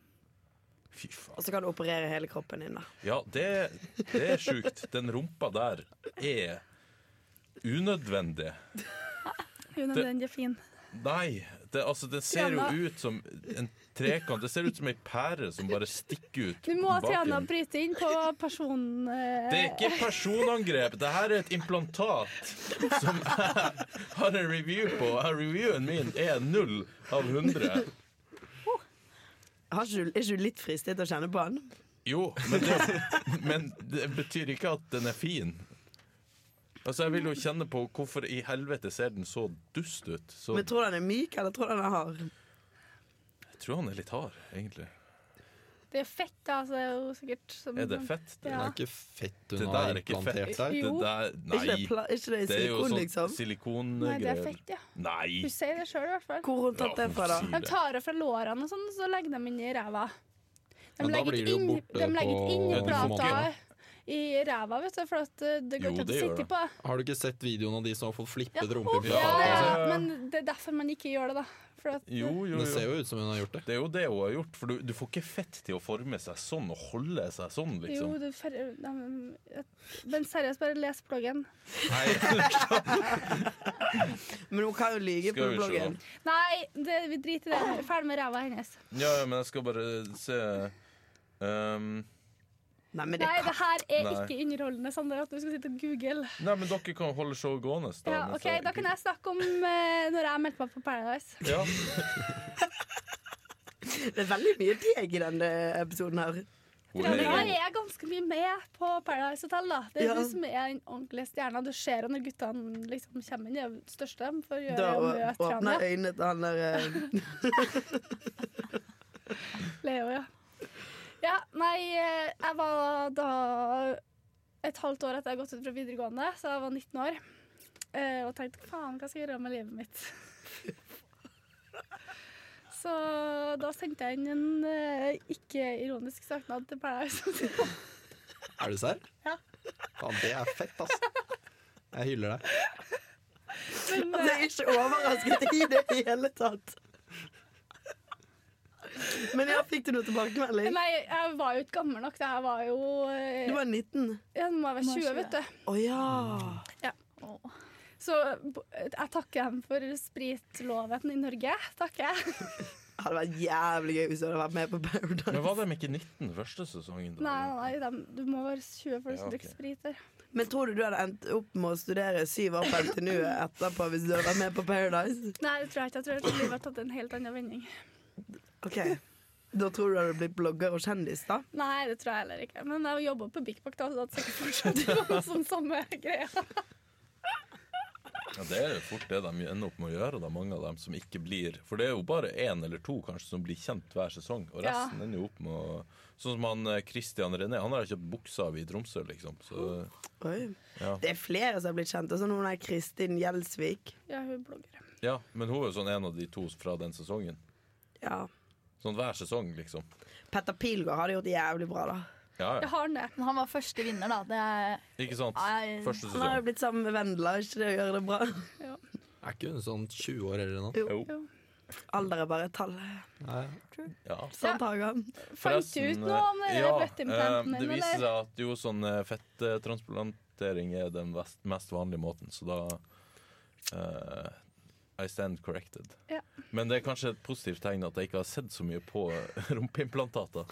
Speaker 2: Fy faen.
Speaker 1: Og så kan du operere hele kroppen din, da.
Speaker 2: Ja, det, det er sjukt. Den rumpa der er unødvendig.
Speaker 3: Unødvendig fin.
Speaker 2: Nei, det, altså, det ser jo
Speaker 3: Triana.
Speaker 2: ut som en trekant. Det ser ut som ei pære som bare stikker ut.
Speaker 3: Du må
Speaker 2: bak
Speaker 3: Triana
Speaker 2: den.
Speaker 3: bryte inn på eh, personen
Speaker 2: Det er ikke personangrep. Det her er et implantat som jeg har en review på. Jeg- Reviewen min er null av 100.
Speaker 1: Har ikke du, er ikke du litt fristet til å kjenne på han?
Speaker 2: Jo, men det, men det betyr ikke at den er fin. Altså, Jeg vil jo kjenne på hvorfor i helvete ser den så dust ut. Så
Speaker 1: Men tror du han er myk, eller tror du han er hard?
Speaker 2: jeg tror han er litt hard, egentlig.
Speaker 3: Det er fett, da, så det er jo sikkert som
Speaker 2: Er det fett? Det,
Speaker 4: Det
Speaker 3: Ja.
Speaker 4: er ikke fett hun
Speaker 2: det der
Speaker 4: har
Speaker 2: er ikke fett.
Speaker 4: implantert der.
Speaker 2: Det
Speaker 3: Jo.
Speaker 2: der,
Speaker 1: Ikke det,
Speaker 2: nei.
Speaker 1: pla- ikke det i
Speaker 2: Det er jo
Speaker 1: silikon,
Speaker 2: sånn
Speaker 1: liksom?
Speaker 3: Nei, det er
Speaker 2: silikonegreier.
Speaker 3: fett, ja.
Speaker 2: Nei!
Speaker 3: Hun sier det sjøl, i hvert fall.
Speaker 1: Hvor har hun tatt det fra, da?
Speaker 2: Ja,
Speaker 3: De tar det fra lårene og sånn, så legger de inn i ræva. De
Speaker 4: Men da
Speaker 3: legger
Speaker 4: blir det
Speaker 3: ikke
Speaker 4: jo
Speaker 3: inn,
Speaker 4: borte
Speaker 3: de legger
Speaker 4: på-
Speaker 3: ikke inn
Speaker 2: Ja, du
Speaker 3: i
Speaker 2: får
Speaker 3: plata
Speaker 2: måke,
Speaker 3: i ræva, vet du, for at eh, det
Speaker 2: Jo,
Speaker 3: går ikke an å
Speaker 2: det gjør
Speaker 3: sitte
Speaker 2: det.
Speaker 3: på.
Speaker 4: Har du ikke sett videoen av de som har fått
Speaker 5: Ja,
Speaker 4: flippet
Speaker 5: håper
Speaker 2: Ja,
Speaker 3: Ja, det
Speaker 2: altså,
Speaker 4: rumpe?
Speaker 3: er,
Speaker 2: ja.
Speaker 3: men det er derfor man ikke gjør det, da. For at,
Speaker 2: Jo, jo,
Speaker 4: Det ser
Speaker 2: jo.
Speaker 4: jo ut som hun har gjort det.
Speaker 2: Det er jo det hun har gjort, for du, du får ikke fett til å forme seg sånn og holde seg sånn, liksom.
Speaker 3: Jo, det fer- de- et- men seriøst, bare les bloggen.
Speaker 2: Nei,
Speaker 1: Men hun kan jo lyge på
Speaker 2: skal vi se.
Speaker 1: bloggen.
Speaker 2: da.
Speaker 3: Nei, det, vi driter i det. Ferdig med ræva hennes.
Speaker 2: Ja, ja, men jeg skal bare se Ehm,
Speaker 1: Nei, men det
Speaker 3: Nei, det
Speaker 1: kan
Speaker 3: her er
Speaker 2: Nei.
Speaker 3: ikke underholdende, Sander, at du skal sitte og google.
Speaker 2: Nei, men dere kan holde showet gående.
Speaker 3: Ja,
Speaker 2: mens
Speaker 3: OK, da kan jeg snakke om eh, når jeg meldte meg på Paradise.
Speaker 2: Ja.
Speaker 1: Det er veldig mye deg i denne episoden her.
Speaker 2: Hun
Speaker 3: Ja,
Speaker 2: er
Speaker 3: men
Speaker 2: jo-
Speaker 3: jeg er ganske mye med på Paradise Hotel, da. Det er
Speaker 1: Ja.
Speaker 3: du som er den ordentlige stjerna. Du ser jo når guttene liksom kommer inn, de er jo de største dem for å gjøre
Speaker 1: Da
Speaker 3: å møte
Speaker 1: åpner
Speaker 3: hverandre.
Speaker 1: øynene til han der eh,
Speaker 3: Leo, ja. Ja, nei, eh, jeg var da et halvt år etter jeg hadde gått ut fra videregående, så jeg var 19 år. eh, Og tenkte faen, hva skal jeg gjøre med livet mitt? Så da sendte jeg inn en eh, ikke-ironisk søknad til Paradise Hotel.
Speaker 4: Er du serr?
Speaker 3: Ja.
Speaker 4: Faen, det er fett, ass. Jeg hyller deg.
Speaker 3: Men, eh,
Speaker 1: Altså, jeg er ikke overrasket i det hele tatt. Men ja, fikk du noe tilbakemelding?
Speaker 3: Nei, jeg var jo ikke gammel nok. Det her var jo eh,
Speaker 1: Du var 19.
Speaker 3: ja, Nå må jeg
Speaker 5: Du
Speaker 3: være 20,
Speaker 5: var
Speaker 3: vet du.
Speaker 1: Å ja.
Speaker 5: Åh.
Speaker 3: Så b- jeg takker dem for spritloven i Norge. Takker jeg.
Speaker 1: Det hadde vært jævlig gøy hvis du hadde vært med på Paradise.
Speaker 2: Men var de ikke 19 første sesongen? da?
Speaker 3: Nei, nei, dem, du må være 20
Speaker 2: Ja,
Speaker 3: for du skal drikke
Speaker 2: ok.
Speaker 3: sprit der.
Speaker 1: Men tror du du hadde endt opp med å studere syv år på NTNU etterpå hvis du hadde vært med på Paradise?
Speaker 3: Nei, det tror jeg ikke. Jeg tror livet har tatt en helt annen vending.
Speaker 1: Ok, Da tror du du hadde blitt blogger og kjendis, da?
Speaker 3: Nei, det tror jeg heller ikke. Men jeg jobba på Big Buck da, så det hadde sikkert fortsatt vært sånn samme greia.
Speaker 2: Ja, det er jo fort det de ender opp med å gjøre, da, mange av dem som ikke blir For det er jo bare én eller to kanskje som blir kjent hver sesong, og
Speaker 3: Ja.
Speaker 2: resten ender jo opp med å Sånn som han eh, Christian René, han har kjøpt buksa av i Tromsø, liksom. Så
Speaker 1: Oi.
Speaker 2: ja.
Speaker 1: Det er flere som har blitt kjent. Også noen der Kristin Gjelsvik.
Speaker 3: Ja, hun blogger.
Speaker 2: ja. Men hun er jo sånn en av de to fra den sesongen.
Speaker 1: Ja.
Speaker 2: Sånn hver sesong, liksom.
Speaker 1: Petter Pilgaard har det gjort jævlig bra, da.
Speaker 2: Ja,
Speaker 3: Jeg
Speaker 2: ja.
Speaker 3: har den det.
Speaker 5: Men han var første vinner, da. Det er
Speaker 2: Ikke sant?
Speaker 5: Nei.
Speaker 2: Første
Speaker 1: Han har jo
Speaker 2: sesong.
Speaker 1: blitt sammen med Vendela, ikke det å gjøre det bra?
Speaker 4: Er ikke hun sånn 20 år eller noe?
Speaker 2: Jo.
Speaker 3: Jo.
Speaker 1: Alder er bare et tall.
Speaker 4: Nei.
Speaker 2: Ja.
Speaker 1: Sånn Haga.
Speaker 3: Fant du ut noe om den
Speaker 2: eh,
Speaker 3: der bøtteimplanten
Speaker 2: eh,
Speaker 3: din,
Speaker 2: Det viser
Speaker 3: eller?
Speaker 2: seg at jo, sånn eh, fettransplantering er den vest, mest vanlige måten, så da eh, I stand corrected.
Speaker 3: Ja.
Speaker 2: Men det er kanskje et positivt tegn at jeg ikke har sett så mye på rumpeimplantater.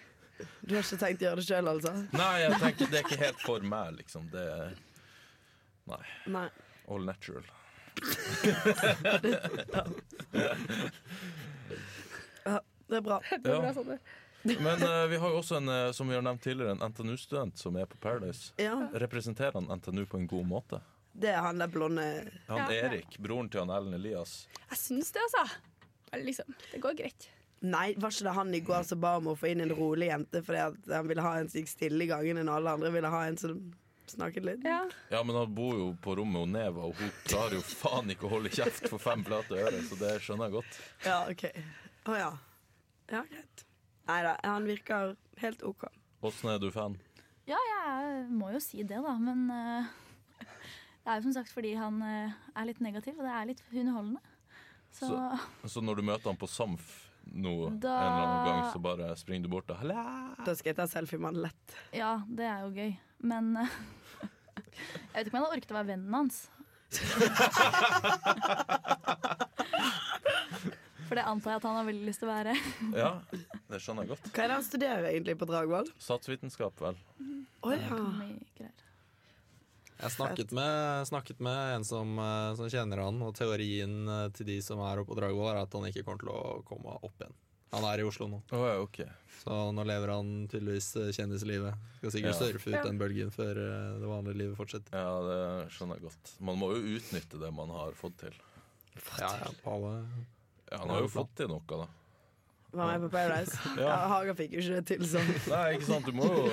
Speaker 1: Du har ikke tenkt å gjøre det sjøl, altså?
Speaker 2: Nei, jeg tenker det er ikke helt for meg, liksom. Det er Nei.
Speaker 1: Nei.
Speaker 2: All natural.
Speaker 1: Ja, det er bra.
Speaker 3: Det var
Speaker 2: Ja.
Speaker 3: bra, Sander.
Speaker 2: Men eh, vi har jo også en, eh, som vi har nevnt tidligere, en NTNU-student som er på Paradise.
Speaker 1: Ja,
Speaker 2: Representerer han NTNU på en god måte?
Speaker 1: det er han der blonde
Speaker 2: Han
Speaker 3: Ja.
Speaker 2: Erik, broren til han Ellen Elias.
Speaker 3: Jeg syns det, altså. Eller Liksom, det går greit.
Speaker 1: Nei, var ikke det han i går som ba om å få inn en rolig jente fordi at han ville ha en som gikk stille i gangene når alle andre ville ha en som snakket litt?
Speaker 3: Ja.
Speaker 2: Ja, men han bor jo på rommet og Neva, og hun klarer jo faen ikke å holde kjeft for fem plate øre, så det skjønner jeg godt.
Speaker 1: Ja, OK. Å ja. Ja, greit. Nei da, han virker helt OK.
Speaker 2: Åssen er du fan?
Speaker 5: Ja, jeg må jo si det, da. Men eh, det er jo som sagt fordi han eh, er litt negativ, og det er litt underholdende. Så,
Speaker 2: Så- Så når du møter han på Samf nå
Speaker 5: Da-
Speaker 2: en eller annen gang, så bare springer du bort og Halla!
Speaker 1: Da skal jeg ta selfie med han lett.
Speaker 5: ja, det er jo gøy. Men eh, jeg vet ikke om jeg hadde orket å være vennen hans. For det antar jeg at han har veldig lyst til å være.
Speaker 2: Ja, det skjønner jeg godt.
Speaker 1: Hva er det han studerer egentlig på Dragvoll?
Speaker 2: Statsvitenskap, vel.
Speaker 1: Å ja.
Speaker 5: Mye greier.
Speaker 4: Jeg snakket med, snakket med en som, eh, som kjenner han, og teorien eh, til de som er oppe på Dragvoll, er at han ikke kommer til å komme opp igjen. Han er i Oslo nå,
Speaker 2: Å ja, ok.
Speaker 4: så nå lever han tydeligvis eh, kjendislivet. Skal sikkert
Speaker 2: Ja.
Speaker 4: surfe ut
Speaker 3: Ja.
Speaker 4: den bølgen før eh, det vanlige livet fortsetter.
Speaker 2: Ja, det skjønner jeg godt. Man må jo utnytte det man har fått til.
Speaker 4: Ja, ja, på alle.
Speaker 2: Ja, han har jo fått til noe, da.
Speaker 1: Var med på Paradise.
Speaker 2: Ja.
Speaker 1: Ja. Haga fikk jo ikke det til sånn.
Speaker 2: Nei, ikke sant, du må jo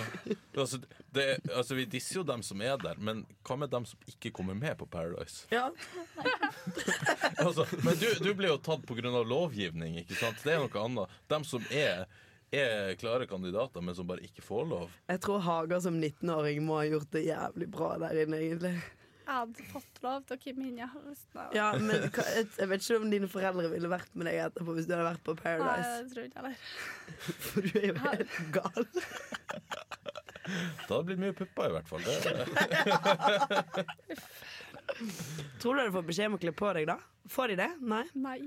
Speaker 2: altså, det, altså, Vi disser jo dem som er der, men hva med dem som ikke kommer med på Paradise?
Speaker 1: Ja.
Speaker 2: Altså, men du, du blir jo tatt pga. lovgivning, ikke sant? Det er noe annet. Dem som er, er klare kandidater, men som bare ikke får lov.
Speaker 1: Jeg tror Haga som 19-åring må ha gjort det jævlig bra der inne, egentlig.
Speaker 3: Jeg hadde fått lov til å komme inn, jeg. hvis det-
Speaker 1: Ja, men hva- jeg jeg vet ikke om dine foreldre ville vært med deg etterpå hvis du hadde vært på
Speaker 3: Nei,
Speaker 1: Paradise.
Speaker 3: jeg tror ikke heller.
Speaker 1: For du er jo helt gal.
Speaker 2: Da hadde det blitt mye pupper, i hvert fall. Det,
Speaker 1: Tror du du får beskjed om å kle på deg, da? Får de det? Nei?
Speaker 3: Nei.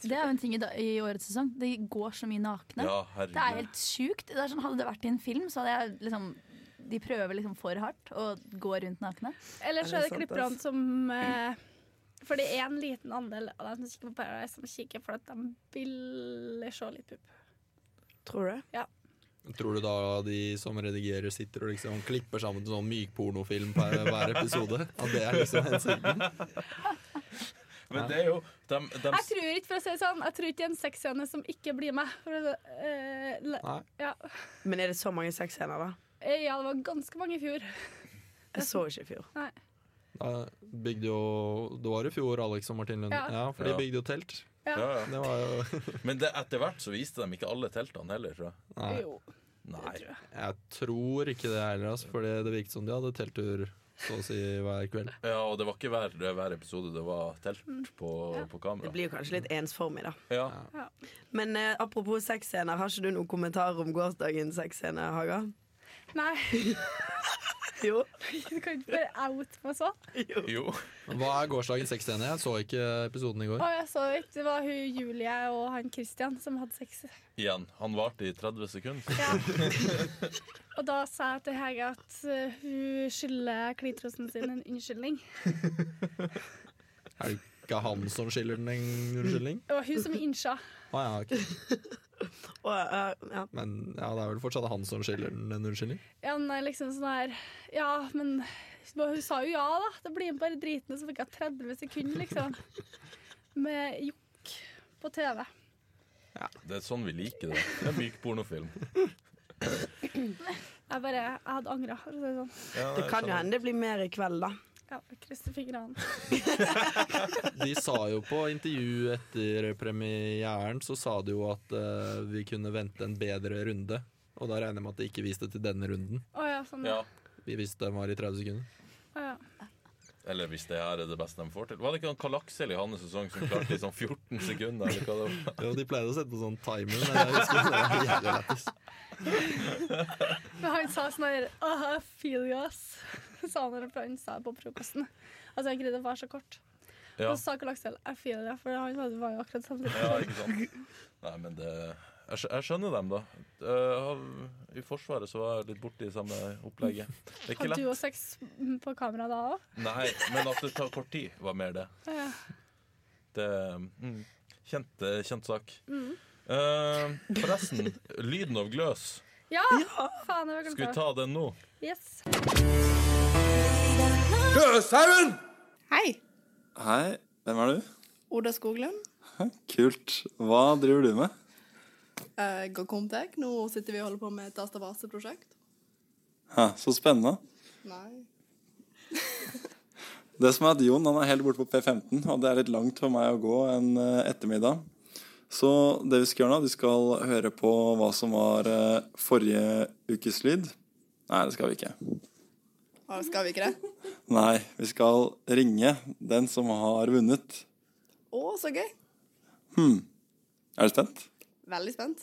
Speaker 5: Det er jo en ting i, da- i årets sesong. Det går så mye nakne.
Speaker 2: ja,
Speaker 5: Det er
Speaker 2: herregud.
Speaker 5: helt sjukt. Det er sånn, hadde det vært i en film, så hadde jeg liksom De prøver liksom for hardt å gå rundt nakne.
Speaker 3: Ellers
Speaker 1: Er
Speaker 3: er det
Speaker 1: det sant,
Speaker 3: klipperne som eh, For det er en liten andel av dem som kikker på Paradise, som kikker for at de vil se litt pupp.
Speaker 1: Tror du det?
Speaker 4: Tror du da de som redigerer, sitter og liksom klipper sammen til sånn mykpornofilm på hver episode? At det er liksom hensikten?
Speaker 2: Men det er jo dem, dem,
Speaker 3: Jeg tror ikke for å si det sånn Jeg tror ikke det er en sexscene som ikke blir med. For å, eh, le-
Speaker 4: Nei.
Speaker 3: ja.
Speaker 1: Men er det så mange sexscener, da?
Speaker 3: Eh, ja, det var ganske mange i fjor.
Speaker 1: Jeg så ikke i fjor.
Speaker 3: Nei.
Speaker 4: Da bygde jo Det var i fjor, Alex og Martin Lund.
Speaker 3: Ja.
Speaker 4: Ja, for de
Speaker 2: Ja.
Speaker 4: bygde jo telt.
Speaker 3: Ja.
Speaker 2: ja, ja.
Speaker 4: Det var jo
Speaker 2: Men det, etter hvert så viste dem ikke alle teltene heller, tror jeg.
Speaker 4: Nei,
Speaker 3: Jo, det
Speaker 2: Nei.
Speaker 3: tror jeg.
Speaker 4: jeg tror ikke det heller, altså, for det virket som de hadde telttur så å si hver kveld.
Speaker 2: Ja, og det var ikke hver, hver episode det var telt
Speaker 3: Mm.
Speaker 2: på, på
Speaker 1: Det
Speaker 2: kamera.
Speaker 1: blir jo kanskje litt ensformig, da.
Speaker 2: Ja.
Speaker 1: Men eh, apropos sexscener, har ikke du noen kommentarer om gårsdagens sexscene, Haga?
Speaker 3: Nei,
Speaker 1: Jo.
Speaker 3: du kan ikke bare out meg sånn.
Speaker 1: jo.
Speaker 2: Jo.
Speaker 4: Hva er gårsdagens sexscene? Jeg så ikke episoden i går.
Speaker 3: Å, jeg så ikke. Det var hun Julie og han Christian som hadde sex.
Speaker 2: Igjen. Han varte i 30 sekunder.
Speaker 3: Ja. Og da sa jeg til Hege at eh, hun skylder klitrosen sin en unnskyldning.
Speaker 4: Er det ikke han som skiller den en unnskyldning?
Speaker 3: Det var hun som innsa.
Speaker 4: Å ja, ok.
Speaker 1: Og, eh, ja.
Speaker 4: Men ja, det er vel fortsatt han som skiller den en unnskyldning?
Speaker 3: Ja, han er liksom sånn her Ja, men hun sa jo ja, da. Det blir bare dritende, så fikk jeg 30 sekunder, liksom. Med jokk på TV.
Speaker 2: Det er sånn vi liker det. Det er myk pornofilm.
Speaker 3: Jeg bare Jeg hadde angra, for å si det sånn.
Speaker 2: Ja,
Speaker 1: Det
Speaker 2: jeg
Speaker 1: kan jo
Speaker 2: skjønner.
Speaker 1: hende det blir mer i kveld, da.
Speaker 3: Ja, jeg krysser fingrene.
Speaker 4: De sa jo på intervju etter premieren, så sa de jo at eh, vi kunne vente en bedre runde. Og da regner jeg med at de ikke viste til denne runden.
Speaker 3: Å ja, sånn.
Speaker 2: Ja.
Speaker 4: Vi visste den var i 30 sekunder.
Speaker 3: Å, ja.
Speaker 2: Eller hvis det her er det beste de får til. Var det ikke han Kalaksel i hans sesong som klarte i sånn 14 sekunder? Eller hva det var?
Speaker 4: Jo, de pleide å sette på sånn timer, men jeg husker det var jævlig lættis.
Speaker 3: Men han sa sånn her «Ah, I feel you, ass. Sa han eller han sa det på frokosten. Altså, jeg greide å være så kort.
Speaker 2: Ja.
Speaker 3: Og så sa Karl Aksel I feel you, for han hadde- var jo akkurat samtidig.
Speaker 2: ja, ikke sant? Nei, men det Jeg, skj- jeg skjønner dem, da. Eh, av- I Forsvaret så var jeg litt borti samme opplegget. Det er ikke
Speaker 3: Hadde du
Speaker 2: lett.
Speaker 3: òg sex på kamera da òg?
Speaker 2: Nei, men at det tar kort tid, var mer det.
Speaker 3: Ja.
Speaker 2: det mm, kjent, eh, kjent sak. Eh, forresten, lyden av gløs.
Speaker 3: Ja! Faen, jeg var
Speaker 2: Skal vi
Speaker 3: glemt
Speaker 2: ta den nå?
Speaker 3: det. Yes.
Speaker 6: Gløshaugen!
Speaker 1: Hei.
Speaker 6: Hei, hvem er du?
Speaker 7: Oda Skoglund.
Speaker 6: Kult. Hva driver du med?
Speaker 7: Eh, går Comtec. Nå sitter vi og holder på med et Astavaser-prosjekt.
Speaker 6: Hæ, så spennende.
Speaker 7: Nei.
Speaker 6: Det som er at Jon han er helt borte på P15, og det er litt langt for meg å gå en eh, ettermiddag. Så det vi skal gjøre nå, du skal høre på hva som var eh, forrige ukes lyd. Nei, det skal vi ikke.
Speaker 7: Å, skal vi ikke det?
Speaker 6: Nei, vi skal ringe den som har vunnet.
Speaker 7: Å, så gøy.
Speaker 6: Er du spent?
Speaker 7: Veldig spent.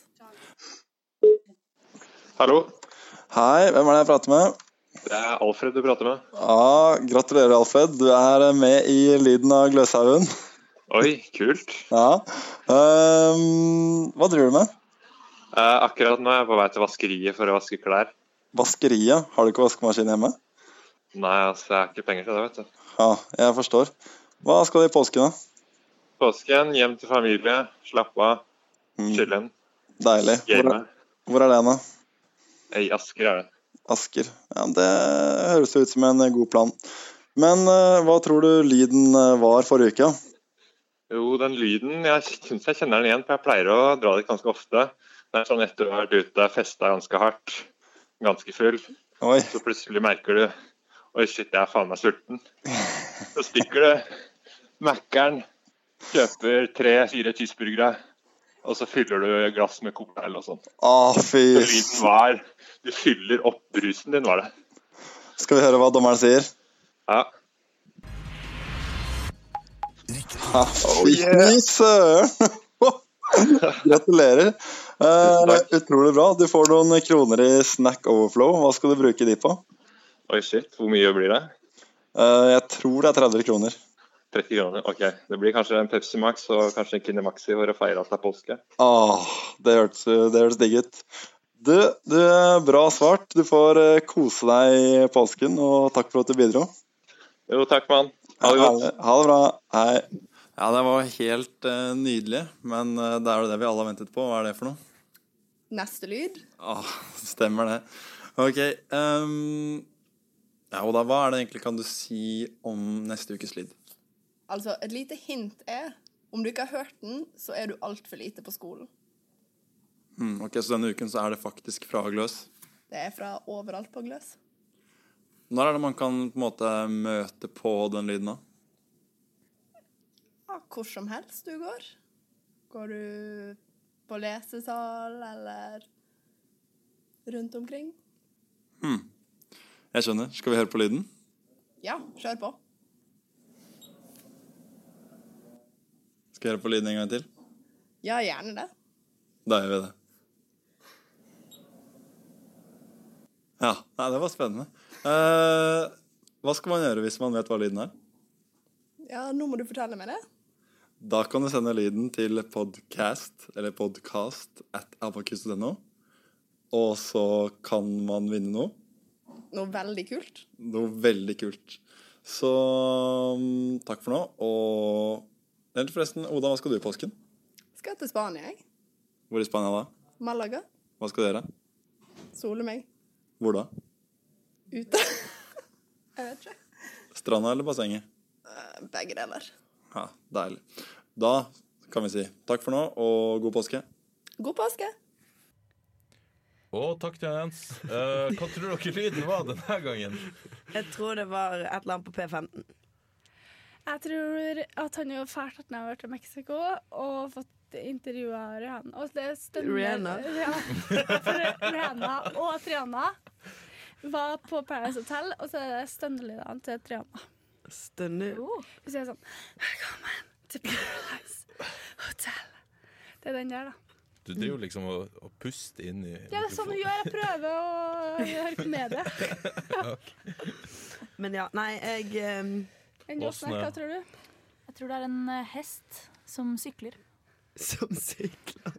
Speaker 8: Hallo,
Speaker 6: Hei, hvem er det jeg prater med?
Speaker 8: det er Alfred du prater med.
Speaker 6: Ja, gratulerer, Alfred. Du er eh, med i lyden av Gløshaugen.
Speaker 8: Oi, kult.
Speaker 6: Ja. Ehm, hva driver du med?
Speaker 8: Eh, akkurat nå er jeg på vei til vaskeriet for å vaske klær.
Speaker 6: Vaskeriet. Har du ikke vaskemaskin hjemme?
Speaker 8: Nei, altså, jeg har ikke penger til det, vet du.
Speaker 6: Ja, jeg forstår. Hva skal du i påsken, da?
Speaker 8: Påsken, hjem til familie, slapp av, chillen,
Speaker 6: Mm, Deilig. Hvor,
Speaker 8: game.
Speaker 6: hvor er det, da?
Speaker 8: I Asker er det.
Speaker 6: Asker. Ja, det høres ut som en eh, god plan. Men eh, hva tror du lyden eh, var forrige uke? da?
Speaker 8: Jo, den lyden, jeg syns jeg kjenner den igjen, for jeg pleier å dra dit ganske ofte. Det er sånn etter å ha vært ute, festa ganske hardt, ganske full,
Speaker 6: Oi.
Speaker 8: så plutselig merker du Oi, shit, jeg er faen meg sulten. Så stikker du Mækkern, kjøper tre-fire cheeseburgere, og så fyller du glass med cola eller noe sånt.
Speaker 6: Å, fy
Speaker 8: Så lyden var Du fyller opp brusen din, var det.
Speaker 6: Skal vi høre hva dommeren sier?
Speaker 8: Ja.
Speaker 6: Ja,
Speaker 8: Oh,
Speaker 6: fy søren! Gratulerer. Eh,
Speaker 8: Tusen takk.
Speaker 6: utrolig bra. Du får noen kroner i Snack Overflow. Hva skal du bruke de på?
Speaker 8: Oi, shit. Hvor mye blir det?
Speaker 6: Eh, jeg tror det er 30 kroner.
Speaker 8: 30 kroner. OK. Det blir kanskje en Pepsi Max og kanskje en Kinder Maxi for å feire at det er påske.
Speaker 6: Åh, det hørtes det hørtes digg ut. Du, du, bra svart. Du får eh, kose deg i påsken, og takk for at du bidro.
Speaker 8: Jo, takk, mann. Ha det godt.
Speaker 6: Ha det bra. Hei. Ja, det var helt eh, nydelig, men eh, det er jo det vi alle har ventet på. Hva er det for noe?
Speaker 7: Neste lyd.
Speaker 6: Ah, stemmer det. Ok. ehm, ja, Oda, hva er det egentlig kan du si om neste ukes lyd?
Speaker 7: Altså, et lite hint er om du ikke har hørt den, så er du altfor lite på skolen.
Speaker 6: Hmm, ok, Så denne uken så er det faktisk fra Gløs.
Speaker 7: Det er fra overalt på Gløs.
Speaker 6: Når er det man kan på en måte møte på den lyden? da?
Speaker 7: Ja, hvor som helst du går. Går du på lesesal eller rundt omkring?
Speaker 6: Jeg skjønner. Skal vi høre på lyden?
Speaker 7: Ja, kjør på.
Speaker 6: Skal vi høre på lyden en gang til?
Speaker 7: Ja, gjerne det.
Speaker 6: Da gjør vi det. Ja. Nei, det var spennende. Eh, hva skal man gjøre hvis man vet hva lyden er?
Speaker 7: Ja, nå må du fortelle meg det.
Speaker 6: Da kan du sende lyden til podcast, eller podcast at abakus.no. Og så kan man vinne noe.
Speaker 7: Noe veldig kult.
Speaker 6: Noe veldig kult. Så mm, takk for nå, og Eller forresten, Oda, hva skal du i påsken?
Speaker 7: Skal til Spania, jeg.
Speaker 6: Hvor i Spania da?
Speaker 7: Malaga.
Speaker 6: Hva skal du gjøre?
Speaker 7: Sole meg.
Speaker 6: Hvor da?
Speaker 7: Ute. Jeg vet ikke.
Speaker 6: Stranda eller bassenget?
Speaker 7: Eh, Begge deler.
Speaker 6: Ja, deilig. Da kan vi si takk for nå, og god påske.
Speaker 7: God påske!
Speaker 2: Og takk til Jens. Eh, hva tror dere lyden var denne gangen?
Speaker 1: Jeg tror det var et eller annet på P15.
Speaker 3: Jeg tror at han er fælt at han har vært i Mexico og fått intervjua Rihanna. Og det stemmer.
Speaker 1: Rihanna.
Speaker 3: Ja, for Rihanna og Triana var på Paradise Hotel, og så er det stønnelydene til Triana.
Speaker 1: Stønner.
Speaker 3: Hun sier sånn Velkommen til Paradise Hotel. Det er den der, da.
Speaker 2: Du driver liksom og, og puster inn i
Speaker 3: Ja, det er sånn hun gjør. Jeg prøver å høre komedie.
Speaker 1: Men ja, nei, jeg ehm,
Speaker 3: Enn du, Åsne, hva tror du?
Speaker 5: Jeg tror det er en eh, hest som sykler.
Speaker 1: Som sykler.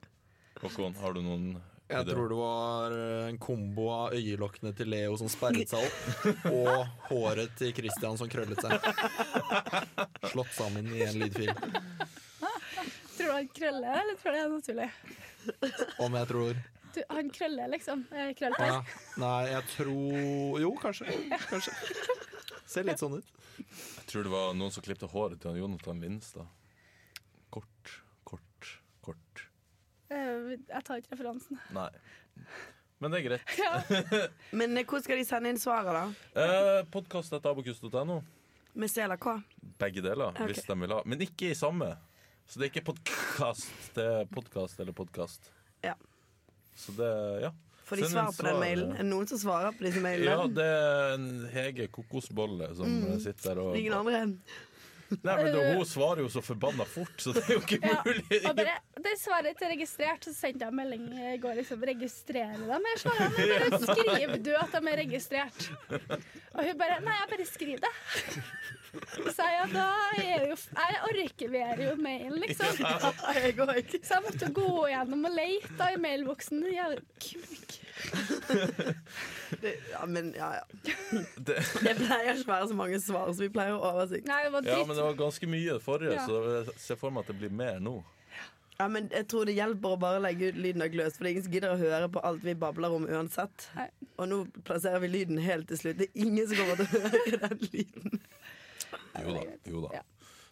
Speaker 2: Håkon, har du noen
Speaker 4: Jeg tror det var eh, en kombo av øyelokkene til Leo som sperret seg opp, og håret til Christian som krøllet seg. Slått sammen i en lydfil.
Speaker 3: Tror du han krøller, eller tror du det er naturlig?
Speaker 4: om jeg tror.
Speaker 3: Du, han krøller, liksom. Eh, Krøllter.
Speaker 4: Ja. Nei, jeg tror Jo, kanskje. Kanskje. Ser litt sånn ut.
Speaker 2: Jeg tror det var noen som klippte håret til han Jonathan Vinstad. Kort, kort, kort.
Speaker 3: Eh, Jeg tar ikke referansen.
Speaker 2: Nei. Men det er greit.
Speaker 1: Men eh, hvor skal de sende inn svaret, da?
Speaker 2: Eh, Podkast.abokus.no.
Speaker 1: Med C eller K?
Speaker 2: Begge deler,
Speaker 1: Ok.
Speaker 2: hvis de vil ha. Men ikke i samme. Så det er ikke podkast. Det er podkast eller podkast.
Speaker 1: Ja.
Speaker 2: Så det Ja.
Speaker 1: For de
Speaker 2: Send inn
Speaker 1: svarer på den
Speaker 2: svaret.
Speaker 1: mailen. Er det noen som svarer på disse mailene?
Speaker 2: Ja, det er en Hege kokosbolle som
Speaker 3: Mm.
Speaker 2: sitter der og
Speaker 1: Ingen andre?
Speaker 2: Nei, men det, Hun svarer jo så forbanna fort, så det er jo ikke
Speaker 3: Eh, Ja,
Speaker 2: mulig.
Speaker 3: Og bare, dessverre ikke registrert, så sendte jeg en melding i går liksom Registrerer dem? Jeg svarer, men bare skriv du at de er registrert. Og hun bare Nei, jeg bare skriver det. Så jeg, ja, da er det jo Jeg arkiverer jo mailen, liksom.
Speaker 1: Jeg òg.
Speaker 3: Så jeg måtte gå gjennom og leite da i mailboksen. Jævla kuk.
Speaker 1: Ja, men ja, ja.
Speaker 2: Det,
Speaker 1: Det pleier ikke å være så mange svar, så vi pleier å oversikt.
Speaker 3: Nei, det var
Speaker 2: ja, men
Speaker 3: dritt.
Speaker 2: det var ganske mye det forrige,
Speaker 3: Ja.
Speaker 2: så jeg ser for meg at det blir mer nå.
Speaker 1: Ja, men jeg tror det hjelper å bare legge ut lyden av gløs, for det er ingen som gidder å høre på alt vi babler om uansett.
Speaker 3: Nei.
Speaker 1: Og nå plasserer vi lyden helt til slutt. Det er ingen som kommer til å høre den lyden.
Speaker 2: Jo da. jo da
Speaker 3: Ja.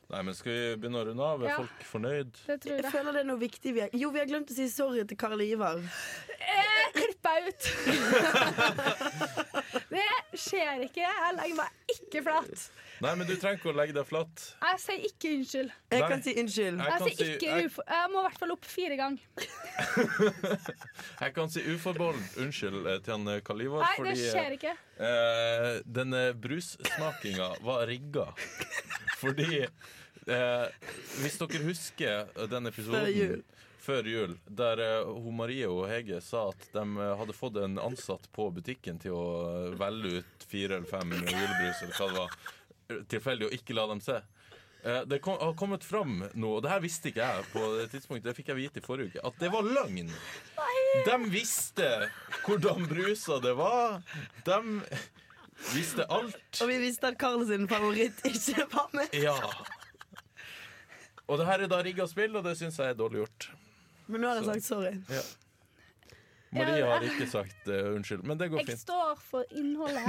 Speaker 2: Nei, men Skal vi begynne å runde av? Er
Speaker 3: Ja.
Speaker 2: folk fornøyd?
Speaker 3: Det tror
Speaker 1: Jeg
Speaker 3: jeg.
Speaker 1: føler det er noe viktig vi har Jo, vi har glemt å si sorry til Karl Ivar.
Speaker 3: Eh, Klipp meg ut! Det skjer ikke. Jeg legger meg ikke flat.
Speaker 2: Nei, men du trenger ikke å legge deg flatt.
Speaker 3: Jeg sier ikke unnskyld.
Speaker 1: Jeg
Speaker 2: Nei.
Speaker 1: kan si unnskyld.
Speaker 2: Jeg
Speaker 3: Jeg
Speaker 2: kan si,
Speaker 3: sier Altså, ikke
Speaker 2: jeg,
Speaker 3: ufo... Jeg må i hvert fall opp fire ganger.
Speaker 2: jeg kan si uforbeholdent unnskyld eh, til han eh, Karl Ivar,
Speaker 3: Nei, det
Speaker 2: fordi eh,
Speaker 3: skjer ikke.
Speaker 2: eh, denne brussmakinga var rigga. Fordi eh, Hvis dere husker den episoden
Speaker 1: Før jul.
Speaker 2: før jul, der eh, hun Marie og Hege sa at de eh, hadde fått en ansatt på butikken til å eh, velge ut fire eller fem julebrus eller hva det var, eh, tilfeldig, og ikke la dem se. Eh, Det kom, har kommet fram nå, og det her visste ikke jeg på det tidspunktet, det fikk jeg vite i forrige uke, at det var løgn. De visste hvordan brusa det var. De visste alt.
Speaker 1: Og vi visste at Karl sin favoritt ikke var med.
Speaker 2: Ja. Og det her er da rigga spill, og det syns jeg er dårlig gjort.
Speaker 1: Men nå har jeg sagt sorry.
Speaker 2: Marie
Speaker 3: Ja,
Speaker 2: har ikke sagt eh, unnskyld, men det går
Speaker 3: Jeg
Speaker 2: fint.
Speaker 3: står for innholdet.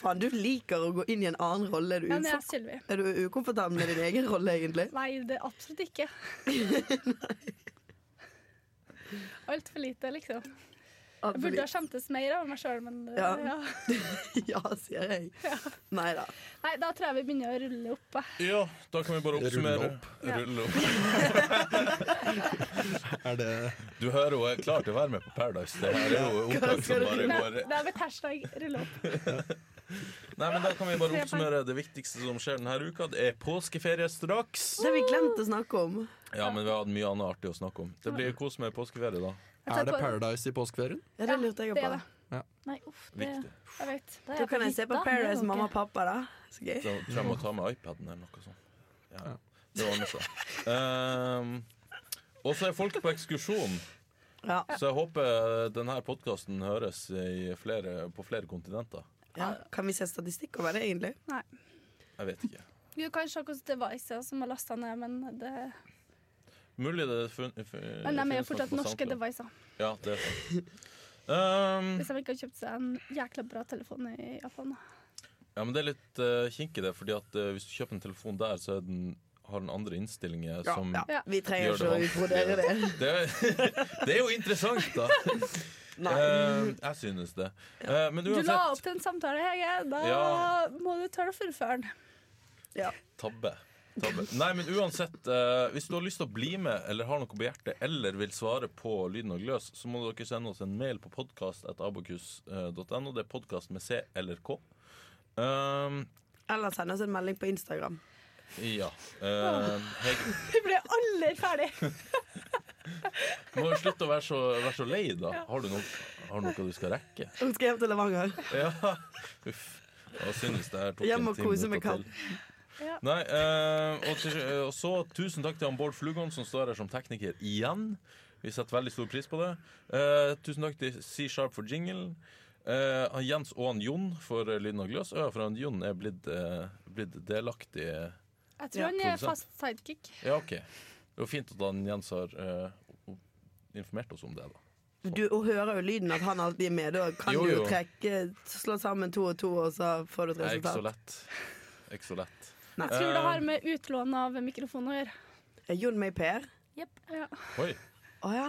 Speaker 1: Faen, du liker å gå inn i en annen rolle. Er du,
Speaker 3: Men jeg er
Speaker 1: ufor-
Speaker 3: Sylvi.
Speaker 1: er du ukomfortabel med din egen rolle, egentlig?
Speaker 3: Nei, det er absolutt ikke. Altfor lite, liksom. Jeg burde ha skjemtes mer over meg sjøl, men eh,
Speaker 1: Ja.
Speaker 3: ja.
Speaker 1: Ja, sier jeg. Nei da.
Speaker 3: Nei, da tror jeg vi begynner å rulle opp. jeg.
Speaker 2: Ja, da kan vi bare
Speaker 4: Rulle
Speaker 2: oppsummere.
Speaker 4: opp.
Speaker 3: Ja.
Speaker 2: Rulle opp.
Speaker 4: Er det
Speaker 2: Du hører hun er klar til å være med på Paradise. Det her er jo opptak som bare
Speaker 3: Det
Speaker 2: går
Speaker 3: er- det er mitt hashtag 'rulle opp'.
Speaker 2: Nei, men da kan vi bare oppsummere det viktigste som skjer denne uka. Det er påskeferie straks.
Speaker 1: Det har vi glemt å snakke om.
Speaker 2: Ja, men vi har hatt mye annet artig å snakke om. Det blir kos med påskeferie, da.
Speaker 3: Jeg tar
Speaker 4: Er det
Speaker 3: på-
Speaker 4: Paradise i påskeferien?
Speaker 1: Ja, det lurte jeg
Speaker 3: Det
Speaker 1: på.
Speaker 3: er det.
Speaker 5: Nei, uff, det,
Speaker 2: Viktig.
Speaker 3: Jeg vet.
Speaker 5: da er
Speaker 1: Da kan jeg se på
Speaker 5: hytta, det går
Speaker 1: Paradise
Speaker 5: ikke.
Speaker 1: mamma og pappa, da. Så gøy.
Speaker 2: Så tror jeg må ta med iPaden eller noe sånt. Ja, det ordner seg. Ehm, og så er folk på ekskursjon,
Speaker 1: Ja.
Speaker 2: så jeg håper denne podkasten høres i flere, på flere kontinenter.
Speaker 1: Ja. Kan vi se statistikk over det, egentlig?
Speaker 3: Nei.
Speaker 2: Jeg vet ikke.
Speaker 3: Du kan se hvordan devices som har lasta ned, men det
Speaker 2: Mulig det fun fun
Speaker 3: Men de er
Speaker 2: finnes noe
Speaker 3: jo fortsatt
Speaker 2: på
Speaker 3: norske
Speaker 2: SoundCloud.
Speaker 3: devices.
Speaker 2: Ja, det er sant. Ehm,
Speaker 3: Hvis de ikke har kjøpt seg en jækla bra telefon i Japan. da.
Speaker 2: ja, men det er litt uh, kinkig, det. Fordi at eh, hvis du kjøper en telefon der, så er den, har den andre innstillinger
Speaker 1: Ja.
Speaker 2: som
Speaker 1: ja. Vi trenger
Speaker 2: Gjør det
Speaker 1: ikke å utbrodere det.
Speaker 2: det, det er jo interessant, da!
Speaker 1: Nei.
Speaker 2: Ehm, jeg synes det. Eh, men
Speaker 3: Du la
Speaker 2: uansett
Speaker 3: opp til en samtale, Hege. Da
Speaker 2: Ja.
Speaker 3: må du tørre å fullføre den.
Speaker 1: Ja.
Speaker 2: Tabbe. Tabbe. Nei, men uansett, eh, hvis du har lyst til å bli med eller har noe på hjertet eller vil svare på Lyden og Gløs, så må dere sende oss en mail på podkast.abokus.no. Det er podkast med C eller K. Um,
Speaker 1: Eller send oss en melding på Instagram.
Speaker 2: ja. Eh, Hege,
Speaker 3: Vi ble aldri ferdig.
Speaker 2: må jo slutte å være så, være så lei, da. Har du, noe, har du noe du skal rekke?
Speaker 1: Hun skal hjem til Levanger.
Speaker 2: Ja. Uff. Jeg synes det her tok
Speaker 1: Hjem
Speaker 2: en
Speaker 1: og
Speaker 2: time
Speaker 1: kose med
Speaker 2: ut og til.
Speaker 3: Ja.
Speaker 2: Nei, eh, og, til, eh, og så tusen takk til han Bård Flugånd som står her som tekniker igjen. Vi setter veldig stor pris på det. Eh, tusen takk til C-Sharp for jinglen. Eh, han Jens og han Jon for eh, lyden og gløs. Ja, for han Jon er blitt, eh, blitt delaktig.
Speaker 3: Jeg
Speaker 1: Ja.
Speaker 3: tror han er
Speaker 2: Produsent.
Speaker 3: fast sidekick.
Speaker 2: Ja, OK. Det var fint at han Jens har eh, o- informert oss om det. da
Speaker 1: Du og hører jo lyden at han alltid er med. Da kan
Speaker 2: Jo,
Speaker 1: du
Speaker 2: jo.
Speaker 1: jo trekke Slå sammen to og to, og så får du et
Speaker 2: Det er ikke så
Speaker 1: resultat.
Speaker 2: lett. Det er Ikke så lett.
Speaker 3: Jeg tror
Speaker 2: Eh,
Speaker 3: det har med utlån av mikrofon å gjøre.
Speaker 1: Er Jon May Per?
Speaker 3: Ja.
Speaker 2: Oi,
Speaker 1: Å ja.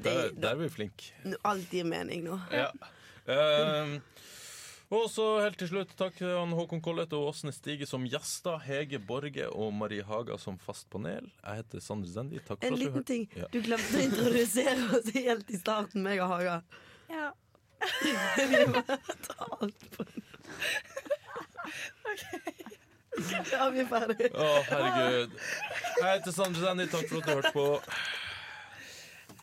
Speaker 2: der, der er vi flinke.
Speaker 1: Nå- Alt gir mening nå.
Speaker 2: Ja. Ehm, og så helt til slutt, takk til han Håkon Collett og Åsne Stige som gjester. Hege Borge og Marie Haga som fast panel. Jeg heter Sander Zendi. Takk for
Speaker 1: En
Speaker 2: at du
Speaker 1: liten
Speaker 2: hørte.
Speaker 1: ting.
Speaker 2: Ja.
Speaker 1: Du glemte å introdusere oss helt i starten, meg og Haga.
Speaker 3: Ja.
Speaker 1: Vi må ta alt på Ja, vi er ferdig.
Speaker 2: Å, herregud. Jeg heter Sander Zendi. Takk for at du hørte på.